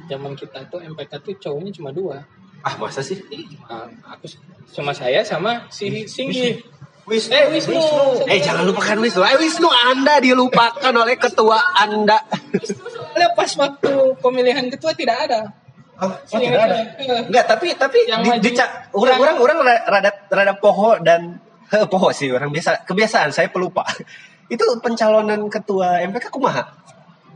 [SPEAKER 3] Zaman kita tuh MPK tuh cowoknya cuma dua.
[SPEAKER 2] Ah, masa sih?
[SPEAKER 3] Nah, aku s- cuma saya sama si Singgi.
[SPEAKER 2] Wisnu.
[SPEAKER 3] Eh, Wisnu.
[SPEAKER 2] Eh, jangan lupakan Wisnu. Eh, Wisnu Anda dilupakan oleh ketua Anda.
[SPEAKER 3] Soalnya pas waktu pemilihan ketua tidak ada.
[SPEAKER 1] Oh,
[SPEAKER 2] Oh,
[SPEAKER 1] tidak ada.
[SPEAKER 3] Eh,
[SPEAKER 2] Enggak, tapi tapi
[SPEAKER 3] Yang
[SPEAKER 2] di,
[SPEAKER 3] maju.
[SPEAKER 2] dica- orang orang orang ra- rada rada poho dan heh, poho sih orang biasa kebiasaan saya pelupa. Itu pencalonan ketua MPK kumaha?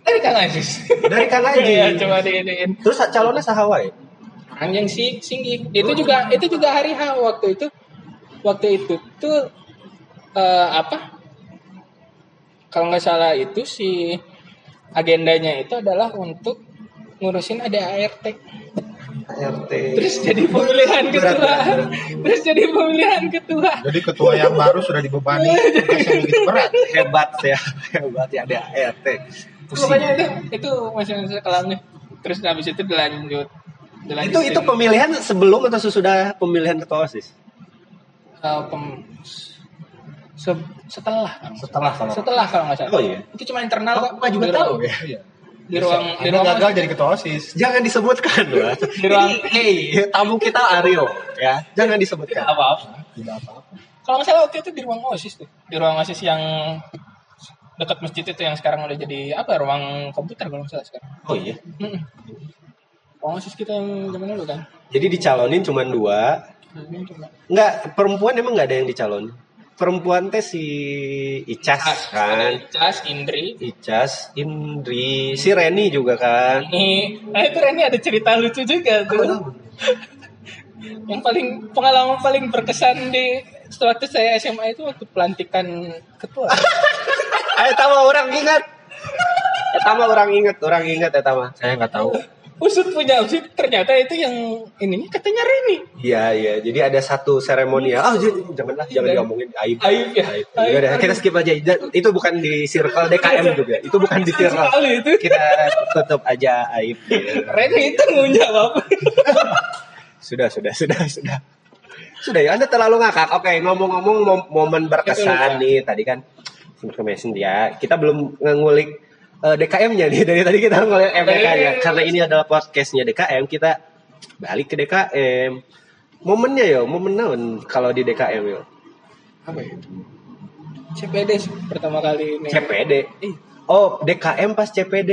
[SPEAKER 3] Dari Kang Aziz.
[SPEAKER 2] Dari Kang Aji.
[SPEAKER 3] Iya, cuma diiniin.
[SPEAKER 2] Terus calonnya sahawai.
[SPEAKER 3] Orang yang si Singgi. Itu juga itu juga hari H waktu itu. Waktu itu tuh eh, apa? Kalau nggak salah itu si agendanya itu adalah untuk ngurusin ADART.
[SPEAKER 2] RT.
[SPEAKER 3] Terus jadi pemilihan
[SPEAKER 2] Berat,
[SPEAKER 3] ketua.
[SPEAKER 2] berat, berat.
[SPEAKER 3] Terus jadi pemilihan ketua.
[SPEAKER 1] Jadi ketua yang baru sudah dibebani tugas yang begitu berat.
[SPEAKER 2] hebat ya, hebat ya ada RT.
[SPEAKER 3] Pokoknya itu itu masih masih kelamnya. Terus habis itu dilanjut. dilanjut
[SPEAKER 2] Itu itu
[SPEAKER 3] dengan,
[SPEAKER 2] pemilihan sebelum atau sesudah pemilihan ketua OSIS?
[SPEAKER 3] eh, pem- se- setelah kan?
[SPEAKER 1] Setelah kalau
[SPEAKER 3] setelah kalau nggak salah
[SPEAKER 2] Oh, iya.
[SPEAKER 3] itu cuma internal
[SPEAKER 2] Oh,
[SPEAKER 3] kok
[SPEAKER 2] Pak juga
[SPEAKER 3] Di ruang-
[SPEAKER 2] tahu ya?
[SPEAKER 1] Iya.
[SPEAKER 3] di ruang di
[SPEAKER 1] Anda
[SPEAKER 3] ruang
[SPEAKER 1] gagal jadi ketua osis.
[SPEAKER 2] Jangan disebutkan lah.
[SPEAKER 3] Di ruang-
[SPEAKER 2] Ini, hey, tamu kita Aryo ya. Jangan disebutkan.
[SPEAKER 3] apa apa
[SPEAKER 1] Tidak apa-apa.
[SPEAKER 3] kalau nggak salah waktu itu di ruang osis tuh di ruang osis yang dekat masjid itu yang sekarang udah jadi apa ruang komputer kalau nggak salah sekarang
[SPEAKER 2] Oh iya.
[SPEAKER 3] Mm-mm. ruang osis kita yang zaman dulu kan
[SPEAKER 2] Jadi dicalonin cuma dua,
[SPEAKER 3] Ini cuma-
[SPEAKER 2] Enggak, perempuan emang enggak ada yang dicalonin. Perempuan teh si Icas kan.
[SPEAKER 3] Jas Indri
[SPEAKER 2] Icas, Indri, si Reni juga kan.
[SPEAKER 3] ini nah itu Reni ada cerita lucu juga tuh yang paling pengalaman paling berkesan di waktu saya SMA itu waktu pelantikan ketua
[SPEAKER 2] Ayo Eh, tama orang ingat. Etama orang ingat, orang ingat ya, Etama. Saya nggak tahu.
[SPEAKER 3] usut punya usut ternyata itu yang ini katanya Reni
[SPEAKER 2] Iya, iya. Jadi ada satu seremonial. Ah, j- janganlah, jangan diomongin aib.
[SPEAKER 3] Aib ya.
[SPEAKER 2] Ya udah,
[SPEAKER 3] Aib.
[SPEAKER 2] kita skip aja. Dan Itu bukan di circle DKM juga. Itu bukan di circle.
[SPEAKER 3] Sekali itu.
[SPEAKER 2] Kita tutup aja aib. Ya.
[SPEAKER 3] Reni itu ngunyah
[SPEAKER 2] Sudah, sudah, sudah, sudah. Sudah ya, Anda terlalu ngakak. Oke, ngomong-ngomong mom- momen berkesan
[SPEAKER 3] Betul,
[SPEAKER 2] nih tadi kan information dia. Kita belum ngulik eh, DKM-nya nih. Dari tadi kita ngulik
[SPEAKER 3] Iya.
[SPEAKER 2] MPK-nya. Karena ini adalah podcastnya DKM, kita balik ke DKM. Momennya ya, momen naon kalau di DKM yo.
[SPEAKER 3] apa ya CPD sih pertama kali ini
[SPEAKER 2] CPD.
[SPEAKER 3] Ih,
[SPEAKER 2] Oh, DKM pas CPD.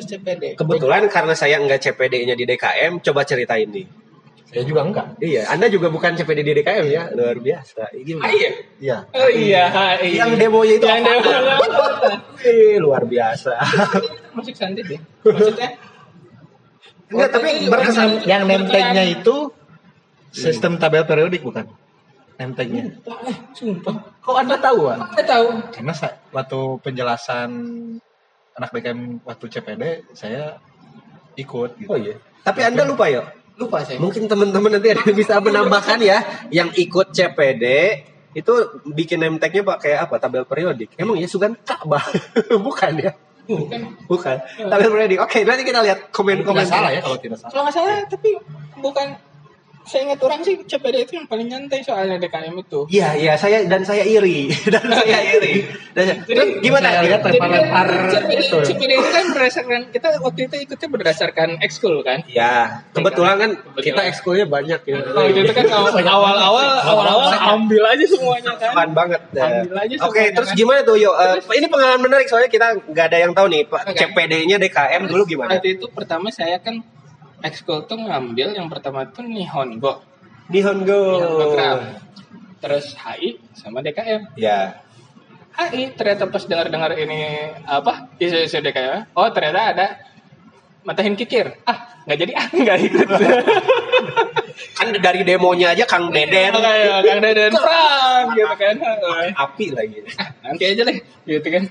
[SPEAKER 3] terus CPD
[SPEAKER 2] Kebetulan karena saya enggak CPD-nya di DKM, coba cerita ini.
[SPEAKER 1] Saya juga enggak.
[SPEAKER 2] Iya, Anda juga bukan CPD DKM ya, luar biasa. Ini gimana?
[SPEAKER 3] Ah, iya.
[SPEAKER 2] Iya.
[SPEAKER 3] Oh iya. iya.
[SPEAKER 2] Yang demonya itu
[SPEAKER 3] Yang
[SPEAKER 2] apa?
[SPEAKER 3] demo.
[SPEAKER 2] Eh, luar biasa.
[SPEAKER 3] Musik santai deh. Maksudnya
[SPEAKER 2] Enggak, tapi berkesan.
[SPEAKER 1] Yang nempelnya itu sistem tabel periodik bukan? Nempelnya.
[SPEAKER 3] Wah, eh, Sumpah.
[SPEAKER 1] Kok Anda tahu, Wan?
[SPEAKER 3] Nggak tahu.
[SPEAKER 1] Karena sa- waktu penjelasan anak BKM waktu CPD saya ikut gitu.
[SPEAKER 2] Oh iya. Tapi Anda lupa ya?
[SPEAKER 3] Lupa saya.
[SPEAKER 2] Mungkin teman-teman nanti ada yang bisa menambahkan ya yang ikut CPD itu bikin name tag-nya pakai apa? Tabel periodik. Emang ya Sugan Ka'bah. Bukan ya?
[SPEAKER 3] Bukan.
[SPEAKER 2] Bukan. Tabel periodik. Oke, nanti kita lihat komen-komen.
[SPEAKER 1] Tidak salah ya kalau tidak salah.
[SPEAKER 3] Kalau nggak salah, tapi bukan. Saya ingat orang sih CPD itu yang paling nyantai soalnya DKM itu.
[SPEAKER 2] Iya, iya, saya dan saya iri. Dan saya iri. Dan saya- Terus gimana?
[SPEAKER 1] saya lihat
[SPEAKER 3] Jadi kan
[SPEAKER 1] lempar-lempar
[SPEAKER 3] CPD,
[SPEAKER 1] itu.
[SPEAKER 3] CPD itu kan berdasarkan kita waktu itu ikutnya berdasarkan ekskul kan.
[SPEAKER 2] Ya, kebetulan kan
[SPEAKER 3] Kebetulan.
[SPEAKER 2] kita ekskulnya banyak ya.
[SPEAKER 3] Kalau itu kan awal-awal awal-awal ambil aja semuanya kan.
[SPEAKER 2] Keren banget. ya.
[SPEAKER 3] Ambil aja
[SPEAKER 2] Oke,
[SPEAKER 3] semuanya,
[SPEAKER 2] terus
[SPEAKER 3] kan?
[SPEAKER 2] gimana tuh yo? Eh, ini pengalaman menarik soalnya kita nggak ada yang tahu nih, Pak.
[SPEAKER 3] Oke.
[SPEAKER 2] CPD-nya DKM dulu gimana?
[SPEAKER 3] Waktu itu pertama saya kan ekskul tuh ngambil yang pertama tuh Nihongo,
[SPEAKER 2] Nihongo.
[SPEAKER 3] Nihongo Crab. Terus HI sama DKM.
[SPEAKER 2] Ya.
[SPEAKER 3] HI ternyata pas dengar-dengar ini apa isu-isu DKM oh ternyata ada matahin kikir ah nggak jadi ah nggak ikut
[SPEAKER 2] Kan dari demonya aja
[SPEAKER 3] Iya.
[SPEAKER 2] Kang Deden
[SPEAKER 3] Makanya, Gitu kan, ya, Kang Deden Pram gitu kan
[SPEAKER 2] api lagi.
[SPEAKER 3] Ah, nanti aja deh gitu kan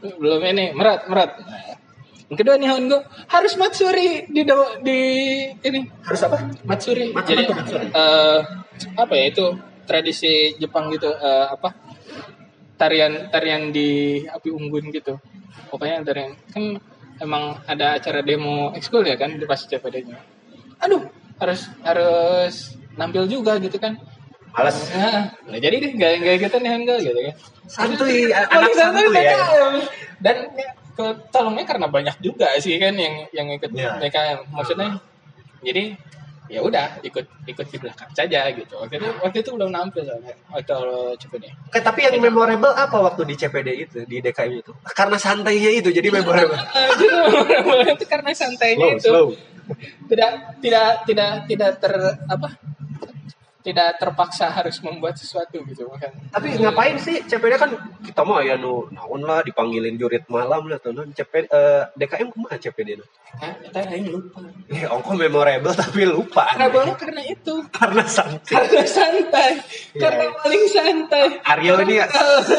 [SPEAKER 3] belum ini merat merat Nah, yang kedua nih Hongo harus Matsuri di do- di ini
[SPEAKER 2] Harus apa?
[SPEAKER 3] Matsuri
[SPEAKER 2] Mat-
[SPEAKER 3] jadi
[SPEAKER 2] apa tuh Matsuri?
[SPEAKER 3] eh, apa ya itu tradisi Jepang gitu eh, apa tarian tarian di api unggun gitu pokoknya tarian kan emang ada acara demo ekskul ya kan di pas CPD-nya aduh harus harus nampil juga gitu kan
[SPEAKER 2] Males.
[SPEAKER 3] Nah, nggak jadi deh, nggak nggak ikutan nih Hangul gitu kan.
[SPEAKER 2] Santuy, a-
[SPEAKER 3] Paling
[SPEAKER 2] anak santuy ya.
[SPEAKER 3] PKM. Dan ya, ke tolongnya karena banyak juga sih kan yang yang ikut
[SPEAKER 1] Iya.
[SPEAKER 3] PKM. Maksudnya jadi ya udah ikut ikut di belakang saja gitu. Waktu itu waktu itu belum nampil soalnya waktu cepet deh.
[SPEAKER 2] Oke, tapi yang memorable apa waktu di CPD itu, di DKM itu? Karena santainya itu jadi memorable.
[SPEAKER 3] Jadi orang-orang itu karena santainya itu tidak tidak tidak tidak ter apa tidak terpaksa harus membuat sesuatu gitu kan.
[SPEAKER 2] Tapi ngapain sih CPD kan kita mah ya nu naon lah dipanggilin jurit malam lah tuh naon CPD eh, DKM kumaha CPD nu?
[SPEAKER 3] Nah, kita aing lupa.
[SPEAKER 2] Eh ongko memorable tapi lupa.
[SPEAKER 3] Karena boleh Ya, karena itu.
[SPEAKER 2] Karena santai.
[SPEAKER 3] karena santai
[SPEAKER 2] Iya.
[SPEAKER 3] karena paling santai
[SPEAKER 2] Aryo ini ya,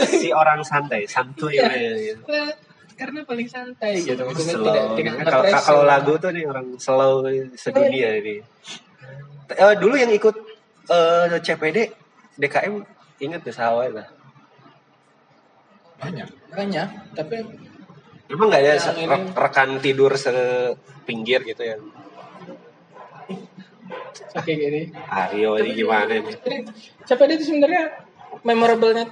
[SPEAKER 2] si orang santai, santuy.
[SPEAKER 3] Iya.
[SPEAKER 2] ya.
[SPEAKER 3] Karena- karena paling santai gitu maksudnya tidak
[SPEAKER 2] Slow.
[SPEAKER 3] tidak
[SPEAKER 2] Kalau
[SPEAKER 3] nge-pressure.
[SPEAKER 2] kalau lagu tuh nih orang slow sedunia ini. Eh, dulu yang ikut eh, CPD DKM inget gak sawah lah.
[SPEAKER 1] Banyak.
[SPEAKER 3] banyak tapi
[SPEAKER 2] Emang nggak ada
[SPEAKER 3] Yang
[SPEAKER 2] se-
[SPEAKER 3] ini-
[SPEAKER 2] re- rekan tidur sepinggir gitu ya?
[SPEAKER 3] oke gini
[SPEAKER 2] Aryo ini gimana nih?
[SPEAKER 3] Jadi, CPD itu sebenarnya memorable-nya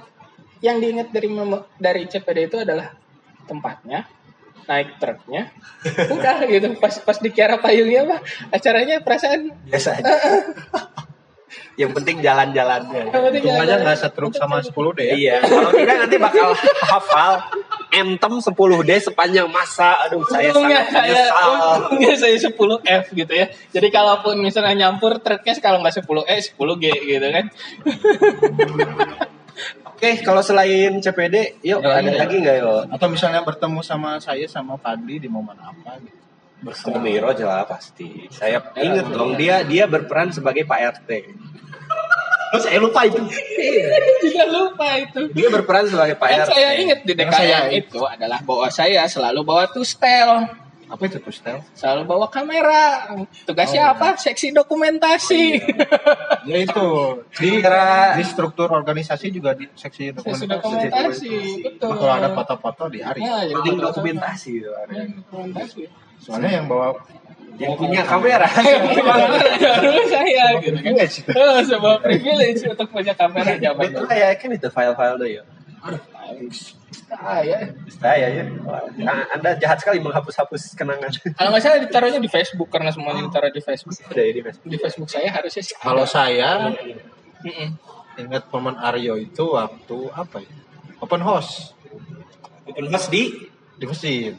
[SPEAKER 3] yang diingat dari memo- dari CPD itu adalah tempatnya naik truknya udah gitu pas pas di Kiara Payungnya mah acaranya perasaan
[SPEAKER 2] biasa aja. yang penting jalan-jalannya.
[SPEAKER 1] Untung aja nggak setruk sama 10 deh ya.
[SPEAKER 2] Iya, kalau tidak nanti bakal hafal entem 10D sepanjang masa. Aduh, saya
[SPEAKER 3] untungnya
[SPEAKER 2] sangat
[SPEAKER 3] saya
[SPEAKER 2] menyesal.
[SPEAKER 3] untungnya saya 10 F gitu ya. Jadi kalaupun misalnya nyampur truknya kalau nggak 10 E 10 G gitu kan.
[SPEAKER 2] Oke, kalau selain CPD, yuk
[SPEAKER 3] Jalan
[SPEAKER 2] ada
[SPEAKER 3] ya.
[SPEAKER 2] lagi nggak yuk?
[SPEAKER 1] Atau misalnya bertemu sama saya sama Fadli di momen apa gitu.
[SPEAKER 2] Bertemu Miro jelas pasti. Saya ingat dong dia dia berperan sebagai Pak RT. Oh, saya lupa itu.
[SPEAKER 3] Juga lupa itu.
[SPEAKER 2] Dia berperan sebagai Pak
[SPEAKER 3] Yang
[SPEAKER 2] RT.
[SPEAKER 3] Kan saya ingat di
[SPEAKER 1] Yang
[SPEAKER 3] DKM
[SPEAKER 1] saya-
[SPEAKER 3] itu adalah bahwa saya selalu bawa tuh stel,
[SPEAKER 1] Apa itu tuh style?
[SPEAKER 3] selalu bawa kamera.
[SPEAKER 1] Oh, iya.
[SPEAKER 3] Tugasnya apa? Seksi dokumentasi.
[SPEAKER 1] Ya itu di,
[SPEAKER 2] Kira-
[SPEAKER 1] di struktur organisasi juga di seksi dokumentasi.
[SPEAKER 3] Seksi gitu. dokumentasi. Betul.
[SPEAKER 1] Kalau ada foto-foto di hari.
[SPEAKER 3] Nah, jadi
[SPEAKER 2] Penting
[SPEAKER 3] foto-foto.
[SPEAKER 2] dokumentasi itu. Arya.
[SPEAKER 3] Iya, Dokumentasi.
[SPEAKER 1] Soalnya yang bawa
[SPEAKER 2] Yang punya kamera.
[SPEAKER 3] Baru saya gitu kan.
[SPEAKER 1] Privilege itu.
[SPEAKER 3] Oh, sebuah privilege untuk punya kamera zaman
[SPEAKER 2] Itu
[SPEAKER 3] dulu.
[SPEAKER 2] kayak kan itu file-file tuh yuk.
[SPEAKER 3] Ah, ya.
[SPEAKER 2] Saya ya. Wah, Anda jahat sekali menghapus-hapus kenangan.
[SPEAKER 3] Kalau nggak salah ditaruhnya di Facebook karena semuanya ditaruh di Facebook.
[SPEAKER 2] Udah ini mas.
[SPEAKER 3] Di Facebook saya harusnya sih.
[SPEAKER 1] Kalau saya
[SPEAKER 3] Mm-mm.
[SPEAKER 1] ingat momen Aryo itu waktu apa ya? Open house
[SPEAKER 2] Open house di
[SPEAKER 1] di masjid.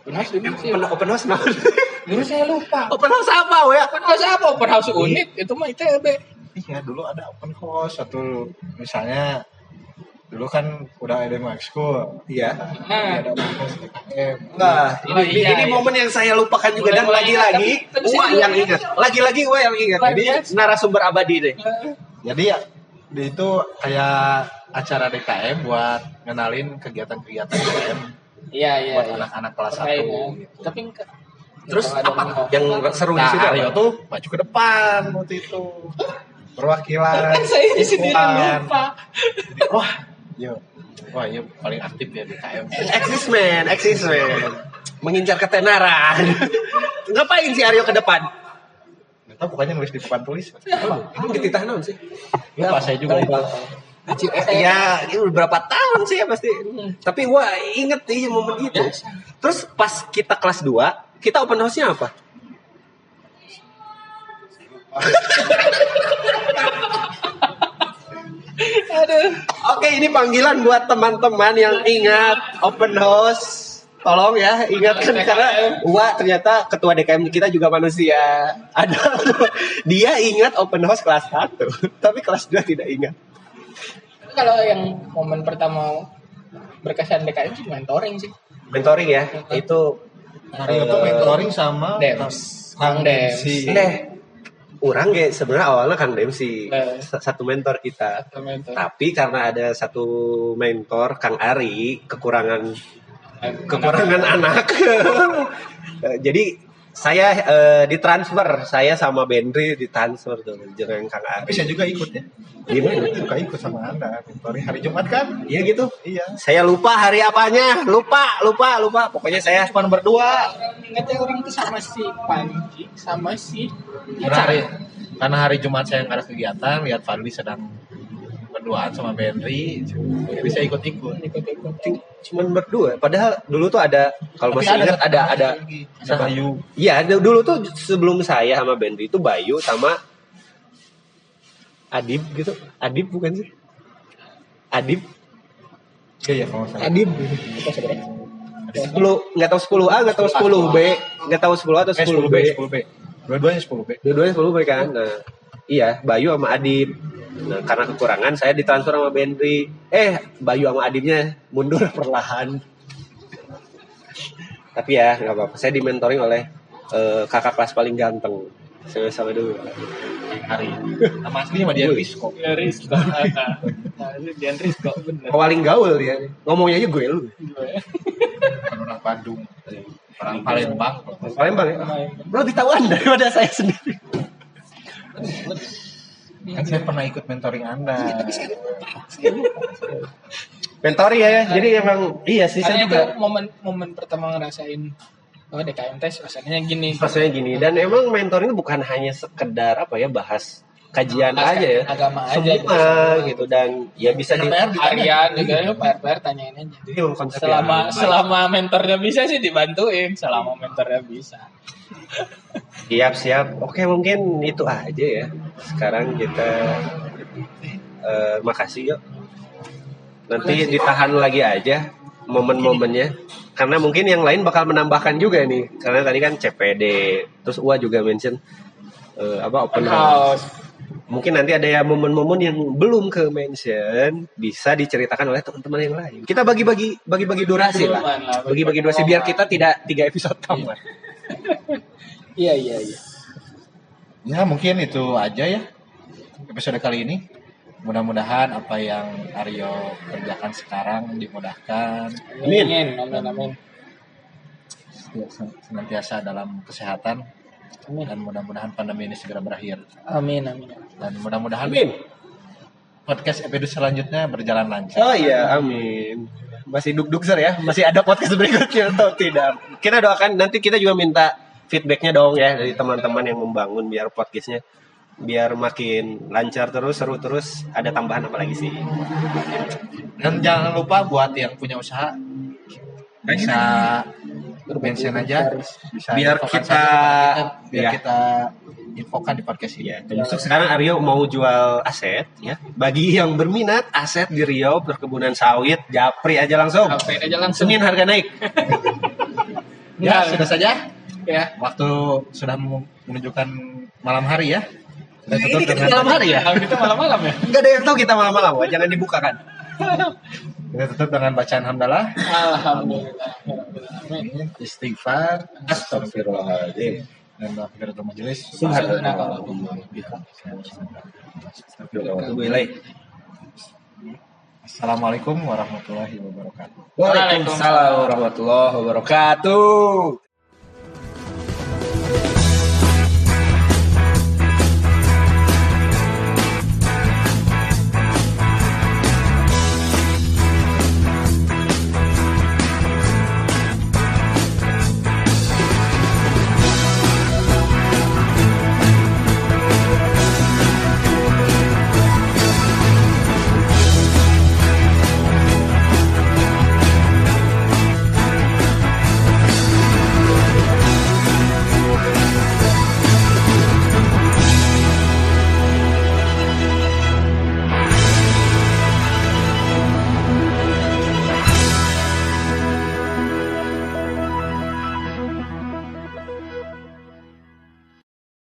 [SPEAKER 3] Benar sih, benar sih.
[SPEAKER 2] open, open house nah.
[SPEAKER 3] Dulu saya lupa.
[SPEAKER 2] Open house apa ya?
[SPEAKER 3] Open house apa? Open house unit itu mah ITB.
[SPEAKER 1] Iya dulu ada open house satu misalnya dulu kan udah ada Max School.
[SPEAKER 2] Iya.
[SPEAKER 1] Iya,
[SPEAKER 3] Nah,
[SPEAKER 1] ada open house IKM.
[SPEAKER 2] Nah,
[SPEAKER 3] Oh,
[SPEAKER 2] ini,
[SPEAKER 3] iya,
[SPEAKER 2] ini
[SPEAKER 3] iya.
[SPEAKER 2] momen yang saya lupakan juga
[SPEAKER 3] Mulai-
[SPEAKER 2] dan
[SPEAKER 3] mulai
[SPEAKER 2] lagi-lagi
[SPEAKER 3] ingat, tapi- tapi
[SPEAKER 2] Wah
[SPEAKER 3] saya
[SPEAKER 2] yang ingat.
[SPEAKER 3] ingat.
[SPEAKER 2] Lagi-lagi Wah yang ingat. Jadi
[SPEAKER 3] Iya.
[SPEAKER 2] narasumber abadi deh.
[SPEAKER 1] Jadi ya di itu kayak acara DKM buat ngenalin kegiatan-kegiatan DKM
[SPEAKER 3] iya iya.
[SPEAKER 1] buat
[SPEAKER 3] iya.
[SPEAKER 1] anak-anak kelas
[SPEAKER 3] Terkait,
[SPEAKER 1] 1
[SPEAKER 3] ya. Tapi enggak.
[SPEAKER 2] Terus
[SPEAKER 3] Kalau ada
[SPEAKER 2] apa
[SPEAKER 3] open
[SPEAKER 2] yang seru di
[SPEAKER 1] Nah,
[SPEAKER 2] situ?
[SPEAKER 1] Aryo tuh maju ke depan waktu itu. Perwakilan.
[SPEAKER 3] Kan saya di sini
[SPEAKER 1] perwakilan.
[SPEAKER 3] lupa.
[SPEAKER 1] Jadi, wah, yo. Wah, iya paling aktif ya di KM.
[SPEAKER 2] Eksis man, eksis man. Mengincar ketenaran. Ngapain si Aryo ke depan?
[SPEAKER 1] Ternyata bukannya nulis di papan tulis.
[SPEAKER 2] Emang ketitah naon sih? Ya,
[SPEAKER 1] Lupa saya juga.
[SPEAKER 2] Lupa. Acil, eh, ya, ini udah berapa tahun sih ya pasti. Tapi gua inget nih momen itu. Terus pas kita kelas 2, kita open house-nya apa?
[SPEAKER 3] Aduh.
[SPEAKER 2] Oke, ini panggilan buat teman-teman yang ingat open house. Tolong ya, ingatkan karena Wa ternyata ketua DKM kita juga manusia. Ada dia ingat open house kelas 1, tapi kelas 2 tidak ingat.
[SPEAKER 3] Kalau yang momen pertama berkesan DKM sih mentoring sih.
[SPEAKER 2] Mentoring ya, itu
[SPEAKER 1] Aryo tuh mentoring sama
[SPEAKER 3] Dems. Kang Dems. Iya.
[SPEAKER 1] Si-
[SPEAKER 2] deh. Orang ya sebenarnya awalnya Kang Dem si
[SPEAKER 3] Eh.
[SPEAKER 2] satu mentor kita.
[SPEAKER 3] Atau mentoring.
[SPEAKER 2] Tapi karena ada satu mentor Kang Ari kekurangan kekurangan anak. Eh, Jadi saya eh, ditransfer, saya sama Benri ditransfer tuh jeneng Kang
[SPEAKER 1] Tapi saya
[SPEAKER 2] Ari.
[SPEAKER 1] juga ikut ya.
[SPEAKER 2] Gimana?
[SPEAKER 1] Suka ikut sama Anda mentoring hari Jumat kan?
[SPEAKER 2] Iya gitu.
[SPEAKER 1] Iya.
[SPEAKER 2] Saya lupa hari apanya, lupa, lupa, lupa. Pokoknya saya cuma berdua.
[SPEAKER 3] Ingatnya orang tuh sama si Panji, sama si
[SPEAKER 1] Karena hari, karena hari Jumat saya nggak ada kegiatan, lihat Fadli sedang berduaan sama Benri, jadi saya ikut-ikut.
[SPEAKER 3] ikut-ikut.
[SPEAKER 2] Cuman berdua. Padahal dulu tuh ada kalau
[SPEAKER 1] Tapi
[SPEAKER 2] masih ingat ada ada
[SPEAKER 1] ada Bayu.
[SPEAKER 2] Iya, d- dulu tuh sebelum saya sama Benri itu Bayu sama Adib gitu. Adib bukan sih? Adib,
[SPEAKER 1] Iya, iya kalau nggak salah.
[SPEAKER 2] Adib.
[SPEAKER 3] Apa sebenarnya?
[SPEAKER 2] 10 nggak tahu 10A, nggak tahu 10B, nggak tahu 10A atau
[SPEAKER 1] Eh,
[SPEAKER 2] 10B.
[SPEAKER 1] 10B. Dua-duanya 10B.
[SPEAKER 2] Dua-duanya 10B kan. Nah, iya, Bayu sama Adib. Nah, karena kekurangan saya ditransfer sama Benri. Eh, Bayu sama Adibnya mundur perlahan. Tapi ya, nggak apa-apa. Saya dimentoring oleh eh, kakak kelas paling ganteng. Saya sama dulu.
[SPEAKER 1] Hari. Nama aslinya Madian Wisco.
[SPEAKER 3] Dari Rizko. Nah, itu Dian Rizko bener.
[SPEAKER 2] Paling gaul dia. Ngomongnya aja gue lu.
[SPEAKER 1] Orang Bandung. Orang Palembang.
[SPEAKER 2] Palembang ya? Lebih tahu Anda daripada saya sendiri.
[SPEAKER 1] Kan saya pernah ikut mentoring Anda.
[SPEAKER 2] Mentoring ya, jadi emang iya sih saya
[SPEAKER 3] Karena itu
[SPEAKER 2] juga.
[SPEAKER 3] momen momen pertama ngerasain oh DKM tes rasanya gini.
[SPEAKER 2] Rasanya gini dan emang mentoring itu bukan hanya sekedar apa ya bahas kajian
[SPEAKER 3] Bahas
[SPEAKER 2] aja ya.
[SPEAKER 3] agama aja
[SPEAKER 2] Semua
[SPEAKER 3] gitu, semua.
[SPEAKER 2] gitu dan ya bisa di Iya.
[SPEAKER 1] PR ditanya.
[SPEAKER 3] Arya juga ya PR tanyain aja.
[SPEAKER 2] Jadi emang konsep
[SPEAKER 3] Selama
[SPEAKER 2] yang baik.
[SPEAKER 3] selama mentornya bisa sih dibantuin, selama mentornya bisa.
[SPEAKER 2] siap siap. Oke mungkin itu aja ya. Sekarang kita eh, makasih yuk. Nanti ditahan lagi aja momen-momennya karena mungkin yang lain bakal menambahkan juga nih karena tadi kan CPD terus Ua juga mention eh, apa open house
[SPEAKER 3] House.
[SPEAKER 2] mungkin nanti ada ya momen-momen yang belum ke mention bisa diceritakan oleh teman-teman yang lain kita bagi-bagi bagi-bagi durasi lah
[SPEAKER 3] Duluan lah,
[SPEAKER 2] bagi-bagi durasi biar kita tidak tiga episode tambah
[SPEAKER 3] Iya iya iya.
[SPEAKER 1] Ya mungkin itu aja ya episode kali ini. Mudah-mudahan apa yang Aryo kerjakan sekarang dimudahkan
[SPEAKER 2] Amin.
[SPEAKER 3] Amin amin amin.
[SPEAKER 1] senantiasa dalam kesehatan
[SPEAKER 3] Amin.
[SPEAKER 1] dan mudah-mudahan pandemi ini segera berakhir
[SPEAKER 3] Amin amin.
[SPEAKER 1] dan mudah-mudahan
[SPEAKER 2] amin
[SPEAKER 1] podcast episode selanjutnya berjalan lancar.
[SPEAKER 2] oh iya amin masih duk-duk ser ya masih ada podcast berikutnya atau tidak kita doakan nanti kita juga minta feedbacknya dong ya dari teman-teman yang membangun biar podcastnya biar makin lancar terus seru terus ada tambahan apa lagi sih
[SPEAKER 1] Dan jangan lupa buat yang punya usaha bisa mention aja bisa
[SPEAKER 2] Biar
[SPEAKER 1] infokan
[SPEAKER 2] kita-
[SPEAKER 1] saja ke kita, biar
[SPEAKER 2] Iya.
[SPEAKER 1] kita infokan di podcast ini.
[SPEAKER 2] Ya, termasuk sekarang Aryo mau jual aset ya. Bagi yang berminat aset di Riau perkebunan sawit Japri aja langsung.
[SPEAKER 3] Oke aja langsung.
[SPEAKER 2] Senin harga naik.
[SPEAKER 1] Ya, sudah saja.
[SPEAKER 3] ya
[SPEAKER 1] Waktu sudah mem- menunjukkan malam hari ya. Kita tutup dengan
[SPEAKER 2] malam hari ya?
[SPEAKER 3] kalau gitu malam-malam ya
[SPEAKER 2] Enggak ada yang tahu kita malam-malam, Wak. jangan dibuka kan.
[SPEAKER 1] kita tutup dengan bacaan hamdalah.
[SPEAKER 3] alhamdulillah ya Rabbul Alamin.
[SPEAKER 2] Hmm.
[SPEAKER 1] Istighfar, astagfirullahaladzim. Dan akhir dalam majelis.
[SPEAKER 3] Subhanakallahumma
[SPEAKER 1] Assalamualaikum warahmatullahi wabarakatuh.
[SPEAKER 4] Waalaikumsalam warahmatullahi wabarakatuh.